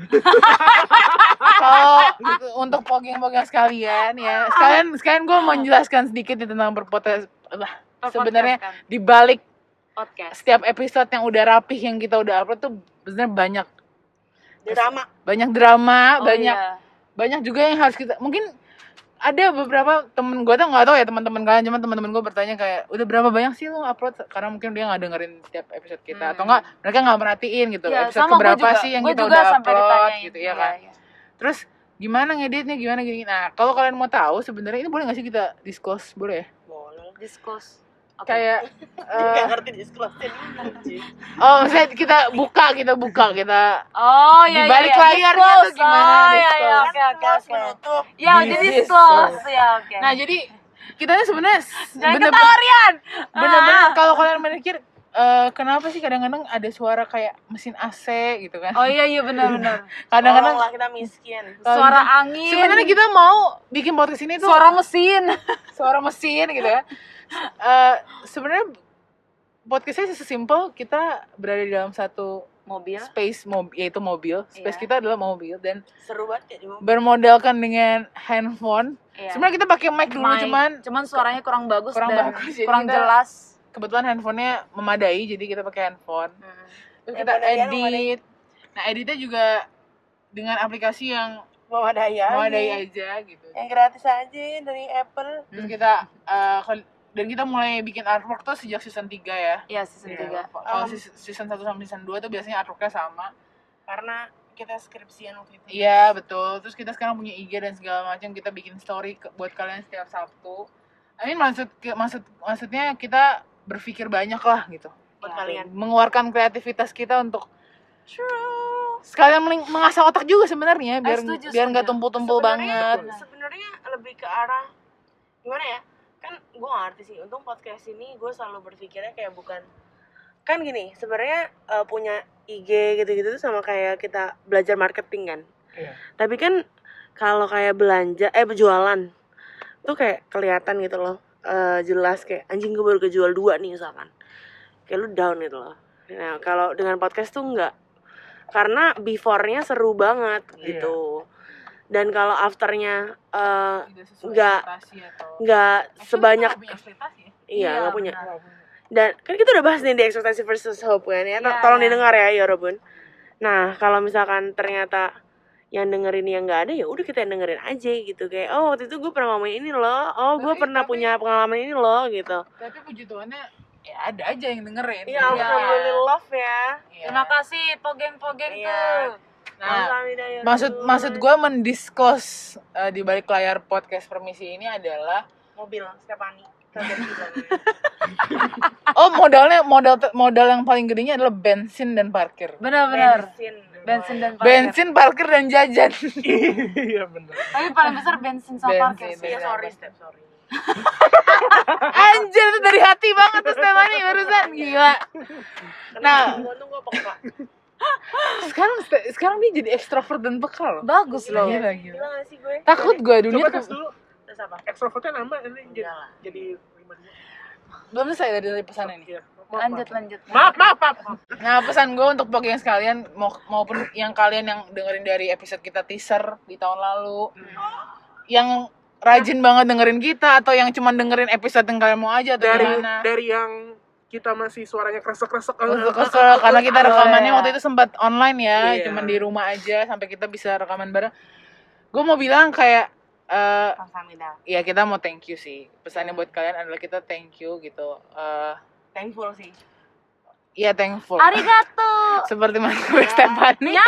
Speaker 2: kalau gitu, untuk pogeng-pogeng sekalian ya sekalian sekalian gue mau menjelaskan sedikit nih tentang berpotensi sebenarnya
Speaker 4: kan
Speaker 2: di balik
Speaker 4: podcast.
Speaker 2: setiap episode yang udah rapih yang kita udah upload tuh sebenarnya banyak
Speaker 3: Drama.
Speaker 2: banyak drama
Speaker 4: Oh,
Speaker 2: banyak
Speaker 4: iya.
Speaker 2: banyak juga yang harus kita mungkin ada beberapa temen gue tuh nggak tahu ya teman-teman kalian cuman teman-teman gue bertanya kayak udah berapa banyak sih lo upload karena mungkin dia nggak dengerin setiap episode kita
Speaker 4: Hmm.
Speaker 2: atau enggak mereka nggak merhatiin gitu
Speaker 4: Iya,
Speaker 2: episode
Speaker 4: gua
Speaker 2: keberapa
Speaker 4: juga.
Speaker 2: sih yang
Speaker 4: Gua
Speaker 2: kita
Speaker 4: juga
Speaker 2: udah
Speaker 4: sampai
Speaker 2: upload
Speaker 4: ditanyain.
Speaker 2: gitu ya kan
Speaker 4: Iya, iya.
Speaker 2: Terus gimana ngeditnya gimana gini. Nah, kalau kalian mau tahu sebenarnya ini boleh nggak sih kita disclose boleh ya?
Speaker 3: Boleh.
Speaker 4: Diskus. Oke.
Speaker 2: Kayak
Speaker 3: Gak
Speaker 2: eh,
Speaker 3: ngerti disclose-nya dulu, cuy.
Speaker 2: oh misalnya kita buka kita buka kita
Speaker 4: Oh
Speaker 2: Di
Speaker 4: iya
Speaker 2: balik
Speaker 4: iya.
Speaker 2: layarnya tuh
Speaker 4: Disclose.
Speaker 2: gimana,
Speaker 4: Oh, iya iya
Speaker 2: disclose.
Speaker 4: oke oke
Speaker 3: Close,
Speaker 4: oke.
Speaker 3: menutup.
Speaker 4: Ya jadi
Speaker 2: Disclose.
Speaker 4: disclose ya oke.
Speaker 2: Nah, jadi kita ini sebenarnya s-
Speaker 4: Jangan
Speaker 2: bener-
Speaker 4: ketawa Rian.
Speaker 2: bener-bener
Speaker 4: Ah.
Speaker 2: kalau kalian mikir eh, kenapa sih kadang-kadang ada suara kayak mesin AC gitu kan?
Speaker 4: Oh iya iya benar benar.
Speaker 2: Kadang-kadang
Speaker 3: Tolonglah kita miskin.
Speaker 2: Kalau
Speaker 4: Oh, Suara
Speaker 2: kita-
Speaker 4: angin.
Speaker 2: sebenarnya kita mau bikin podcast ini tuh
Speaker 4: suara mesin.
Speaker 2: suara mesin gitu ya. Eh, sebenarnya podcastnya sesimpel kita berada di dalam satu
Speaker 4: Mobil.
Speaker 2: space mobil yaitu mobil space
Speaker 4: Iya.
Speaker 2: kita adalah mobil dan
Speaker 3: Seru banget ya, di mobil.
Speaker 2: bermodalkan dengan handphone
Speaker 4: Iya.
Speaker 2: sebenarnya kita pakai mic dulu
Speaker 4: Mic.
Speaker 2: cuman
Speaker 4: cuman suaranya kurang bagus
Speaker 2: kurang
Speaker 4: dan
Speaker 2: bagus, jadi
Speaker 4: kurang
Speaker 2: kita-
Speaker 4: jelas.
Speaker 2: kebetulan handphonenya memadai jadi kita pakai handphone terus kita
Speaker 3: Handphone kalian
Speaker 2: edit nah editnya juga dengan aplikasi yang
Speaker 3: Mau ada ya.
Speaker 2: memadai aja gitu
Speaker 4: Iya.
Speaker 3: Yang gratis aja dari Apple.
Speaker 2: terus kita eh, kon- dan kita mulai bikin artwork tuh sejak season 3 ya
Speaker 4: Iya season tiga.
Speaker 2: kalau
Speaker 3: Um.
Speaker 2: seas- season 1 sama season 2 tuh biasanya artworknya sama
Speaker 3: Karena kita skripsian waktu itu.
Speaker 2: Iya betul. Terus kita sekarang punya IG dan segala macam. Kita bikin story ke- buat kalian setiap Sabtu. I mean, maksud ke- maksud maksudnya kita berpikir banyak lah gitu.
Speaker 3: Buat
Speaker 4: Ya,
Speaker 3: kalian.
Speaker 2: Mengeluarkan kreativitas kita untuk
Speaker 3: True.
Speaker 2: sekalian mening- mengasah otak juga sebenarnya
Speaker 4: Ah,
Speaker 2: biar
Speaker 4: setuju,
Speaker 2: biar nggak
Speaker 4: setuju.
Speaker 2: tumpul-tumpul
Speaker 3: Sebenarnya-
Speaker 2: banget. Iya,
Speaker 4: Betul.
Speaker 3: Sebenarnya lebih ke arah gimana ya? Kan gue ngerti sih. Untung podcast ini gue selalu berpikirnya kayak bukan kan gini sebenarnya eh, punya IG gitu-gitu tuh sama kayak kita belajar marketing kan.
Speaker 1: Iya.
Speaker 3: Tapi kan kalau kayak belanja eh berjualan tuh kayak kelihatan gitu loh. eh, jelas kayak anjing gue baru kejual dua nih misalkan kayak lu down gitu loh nah kalau dengan podcast tuh enggak karena before-nya seru banget gitu dan kalau afternya eh,
Speaker 2: Tidak sesuai
Speaker 3: Nggak.
Speaker 2: ekspektasi atau
Speaker 3: nggak sebanyak
Speaker 2: Actually, kita nggak punya ekspektasi ya.
Speaker 3: iya
Speaker 4: Iya,
Speaker 3: nggak punya
Speaker 4: benar.
Speaker 3: dan kan kita udah bahas nih di ekspektasi versus hope kan ya To-
Speaker 4: Iya.
Speaker 3: tolong didengar ya ya Robun nah kalau misalkan ternyata yang dengerin yang nggak ada ya udah kita yang dengerin aja gitu kayak oh waktu itu gue pernah ngomongin ini loh oh gue
Speaker 2: Tapi-
Speaker 3: pernah
Speaker 2: tapi-
Speaker 3: punya pengalaman ini loh gitu
Speaker 2: tapi puji Tuhannya ya ada aja yang dengerin
Speaker 3: iya
Speaker 4: Iya.
Speaker 3: alhamdulillah ya
Speaker 2: Iya.
Speaker 4: Terima kasih pogeng-pogeng
Speaker 3: Iya.
Speaker 4: tuh.
Speaker 2: nah
Speaker 3: Alhamdulillah, ya
Speaker 2: maksud
Speaker 3: Robun.
Speaker 2: maksud gue mendiskos eh, di balik layar podcast permisi ini adalah
Speaker 3: mobil Stefani Kagak bilang.
Speaker 2: oh modalnya modal modal yang paling gedenya adalah bensin dan parkir
Speaker 4: Benar-benar.
Speaker 3: Bensin.
Speaker 4: Bensin dan parkir.
Speaker 2: bensin parkir dan jajan
Speaker 1: iya bener
Speaker 4: Tapi paling besar bensin sama
Speaker 2: Bensin.
Speaker 4: parkir sih.
Speaker 3: Iya, sorry Step, sorry
Speaker 2: anjir itu dari hati banget tuh Stefani barusan gila
Speaker 3: nah gue tuh gue peka
Speaker 2: sekarang sekarang dia jadi ekstrovert dan peka loh
Speaker 4: Bagus loh.
Speaker 2: gila gila
Speaker 3: gila gak sih gue
Speaker 2: takut gue dunia
Speaker 1: coba
Speaker 2: tuh-
Speaker 1: tes dulu
Speaker 3: terus apa
Speaker 1: ekstrovertnya nambah ini jadi
Speaker 3: Enggak lah.
Speaker 1: jadi lima dua.
Speaker 2: belum selesai dari, dari pesan ini
Speaker 1: Iya. Maaf, maaf.
Speaker 4: Lanjut lanjut.
Speaker 1: maaf maaf maaf maaf.
Speaker 2: nah pesan gue untuk bagi yang sekalian mau- maupun yang kalian yang dengerin dari episode kita teaser di tahun lalu
Speaker 1: Hmm.
Speaker 2: yang rajin banget dengerin kita atau yang cuma dengerin episode yang kalian mau aja atau
Speaker 1: dari
Speaker 2: gimana
Speaker 1: dari yang kita masih suaranya kresek kresek
Speaker 2: kesel karena kita rekamannya waktu itu sempat online ya,
Speaker 1: Iya.
Speaker 2: cuman di rumah aja sampai kita bisa rekaman bareng. Gue mau bilang kayak eh
Speaker 3: Kamsahamnida.
Speaker 2: ya kita mau thank you sih. Pesannya buat kalian adalah kita thank you gitu. Eh
Speaker 3: thankful sih
Speaker 2: Iya thankful.
Speaker 4: Arigato.
Speaker 2: Seperti mas gue Stephanie.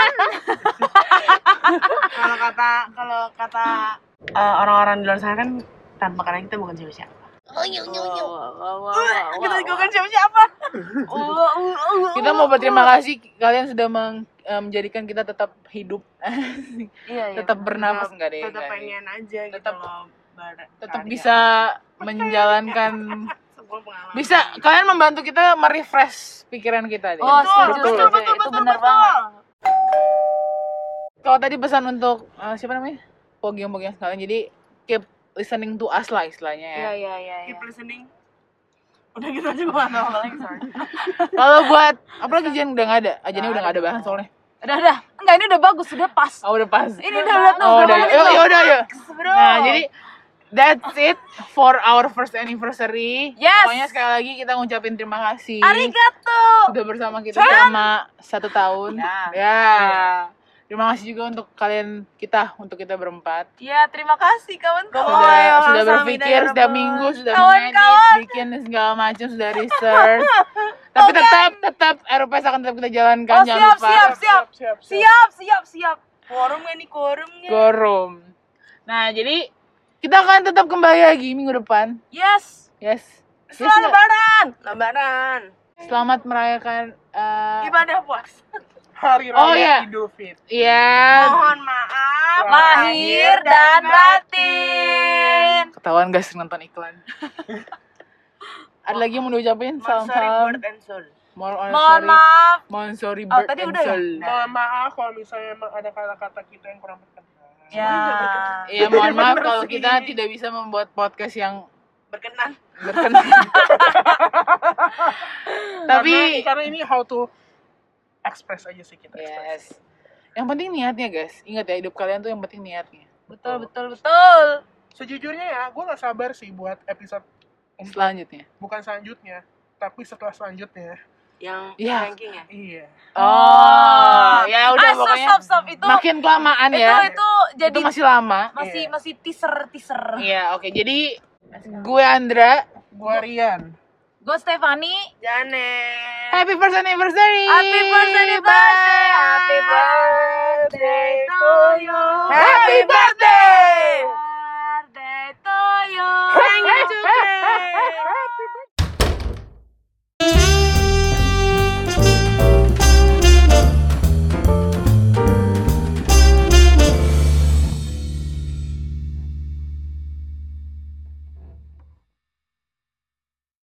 Speaker 3: kalau kata kalau kata eh, orang-orang di luar sana kan tanpa karena kita bukan siapa-siapa. Kita juga bukan siapa-siapa.
Speaker 2: Kita mau berterima kasih kalian sudah meng- eh, menjadikan kita tetap hidup,
Speaker 4: Iya iya.
Speaker 2: tetap bernapas enggak deh.
Speaker 3: Tetap
Speaker 2: enggak deh.
Speaker 3: pengen aja gitu
Speaker 2: Tetap-
Speaker 3: loh. bar-
Speaker 2: tetap
Speaker 3: karya.
Speaker 2: bisa menjalankan
Speaker 3: Sebuah pengalaman.
Speaker 2: bisa kalian membantu kita merefresh pikiran kita deh.
Speaker 4: Oh, setuju,
Speaker 3: Betul,
Speaker 4: setuju.
Speaker 3: betul, betul,
Speaker 4: Itu
Speaker 3: betul,
Speaker 4: benar
Speaker 3: betul.
Speaker 4: banget.
Speaker 2: Kalau tadi pesan untuk eh, siapa namanya? Pogiong-pogiong sekalian. Jadi keep listening to us lah istilahnya ya.
Speaker 4: Iya iya iya. iya.
Speaker 3: Keep listening. Udah gitu aja gue gak tau apa lagi, sorry.
Speaker 2: Kalau buat apalagi Jen udah nggak ada. Ajennya udah nggak ada bahan soalnya.
Speaker 4: Udah udah. Enggak ini udah bagus, udah pas.
Speaker 2: Oh udah pas.
Speaker 4: Ini udah udah tuh.
Speaker 2: Oh udah. Yuk yuk udah yuk.
Speaker 4: Bro.
Speaker 2: Nah jadi that's it for our first anniversary.
Speaker 4: Yes.
Speaker 2: Pokoknya sekali lagi kita ngucapin terima kasih.
Speaker 4: Arigato.
Speaker 2: Sudah bersama kita selama satu tahun.
Speaker 3: Ya.
Speaker 2: Ya. Terima kasih juga untuk kalian kita untuk kita berempat.
Speaker 4: Ya, terima kasih kawan-kawan.
Speaker 2: sudah,
Speaker 3: ya,
Speaker 2: sudah
Speaker 3: langsung
Speaker 2: berpikir
Speaker 3: minta
Speaker 2: sudah
Speaker 3: ya,
Speaker 2: minggu sudah
Speaker 4: Kawan-kawan.
Speaker 2: mengedit bikin segala macam sudah research tapi tetap tetap RPS akan tetap kita jalankan
Speaker 4: Oh,
Speaker 2: jangan
Speaker 4: siap,
Speaker 2: lupa
Speaker 4: siap, siap.
Speaker 1: siap siap
Speaker 4: Siap, siap, siap.
Speaker 3: Quorum gak nih, quorum gak?
Speaker 2: gorum nah jadi kita akan tetap kembali lagi minggu depan
Speaker 4: Yes.
Speaker 2: yes, Yes,
Speaker 3: Selamat
Speaker 2: nggak?
Speaker 3: lebaran. Lebaran.
Speaker 2: selamat merayakan eh,
Speaker 3: Ibadah puasa.
Speaker 1: hari raya
Speaker 2: Oh, iya.
Speaker 1: Idul Fitri
Speaker 2: iya
Speaker 3: Mohon maaf
Speaker 4: Lahir dan batin.
Speaker 2: ketahuan guys nonton iklan ada lagi yang mau diucapin salam
Speaker 3: Sorry,
Speaker 2: salam
Speaker 3: word and soul.
Speaker 2: mohon
Speaker 4: Mohon maaf.
Speaker 2: mohon sorry
Speaker 4: Oh,
Speaker 2: bird
Speaker 4: tadi
Speaker 2: and
Speaker 4: udah ya?
Speaker 2: soul.
Speaker 1: Eh, mohon maaf kalau misalnya emang ada kata-kata kita yang kurang berkenan
Speaker 4: Ya.
Speaker 2: Iya, mohon maaf
Speaker 1: Bener
Speaker 2: kalau
Speaker 1: sih.
Speaker 2: kita tidak bisa membuat podcast yang
Speaker 3: Berkenan.
Speaker 2: berkenan. Tapi
Speaker 1: karena,
Speaker 4: kan-
Speaker 1: karena ini how to express aja sih kita express.
Speaker 2: yes. Yang penting niatnya, guys. Ingat ya, hidup kalian tuh yang penting niatnya.
Speaker 4: Betul, betul, betul.
Speaker 1: sejujurnya ya gue nggak sabar sih buat episode
Speaker 2: Selanjutnya.
Speaker 1: bukan selanjutnya tapi setelah selanjutnya
Speaker 3: Yang
Speaker 2: Iya.
Speaker 3: ranking ya.
Speaker 1: iya
Speaker 2: Oh, ya udah
Speaker 4: Ah, stop,
Speaker 2: pokoknya
Speaker 4: stop, stop. Itu
Speaker 2: makin kelamaan
Speaker 4: itu
Speaker 2: ya.
Speaker 4: itu
Speaker 2: Itu,
Speaker 4: jadi masih
Speaker 2: masih lama.
Speaker 4: masih,
Speaker 1: Iya.
Speaker 4: teaser teaser.
Speaker 2: Iya, oke. Jadi gue Andra.
Speaker 1: gue Rian
Speaker 4: Gue Stefani.
Speaker 3: Janet.
Speaker 2: Happy first anniversary.
Speaker 4: Happy first anniversary. Happy birthday to you.
Speaker 2: Happy birthday.
Speaker 4: birthday to you.
Speaker 3: Thank you, Janet.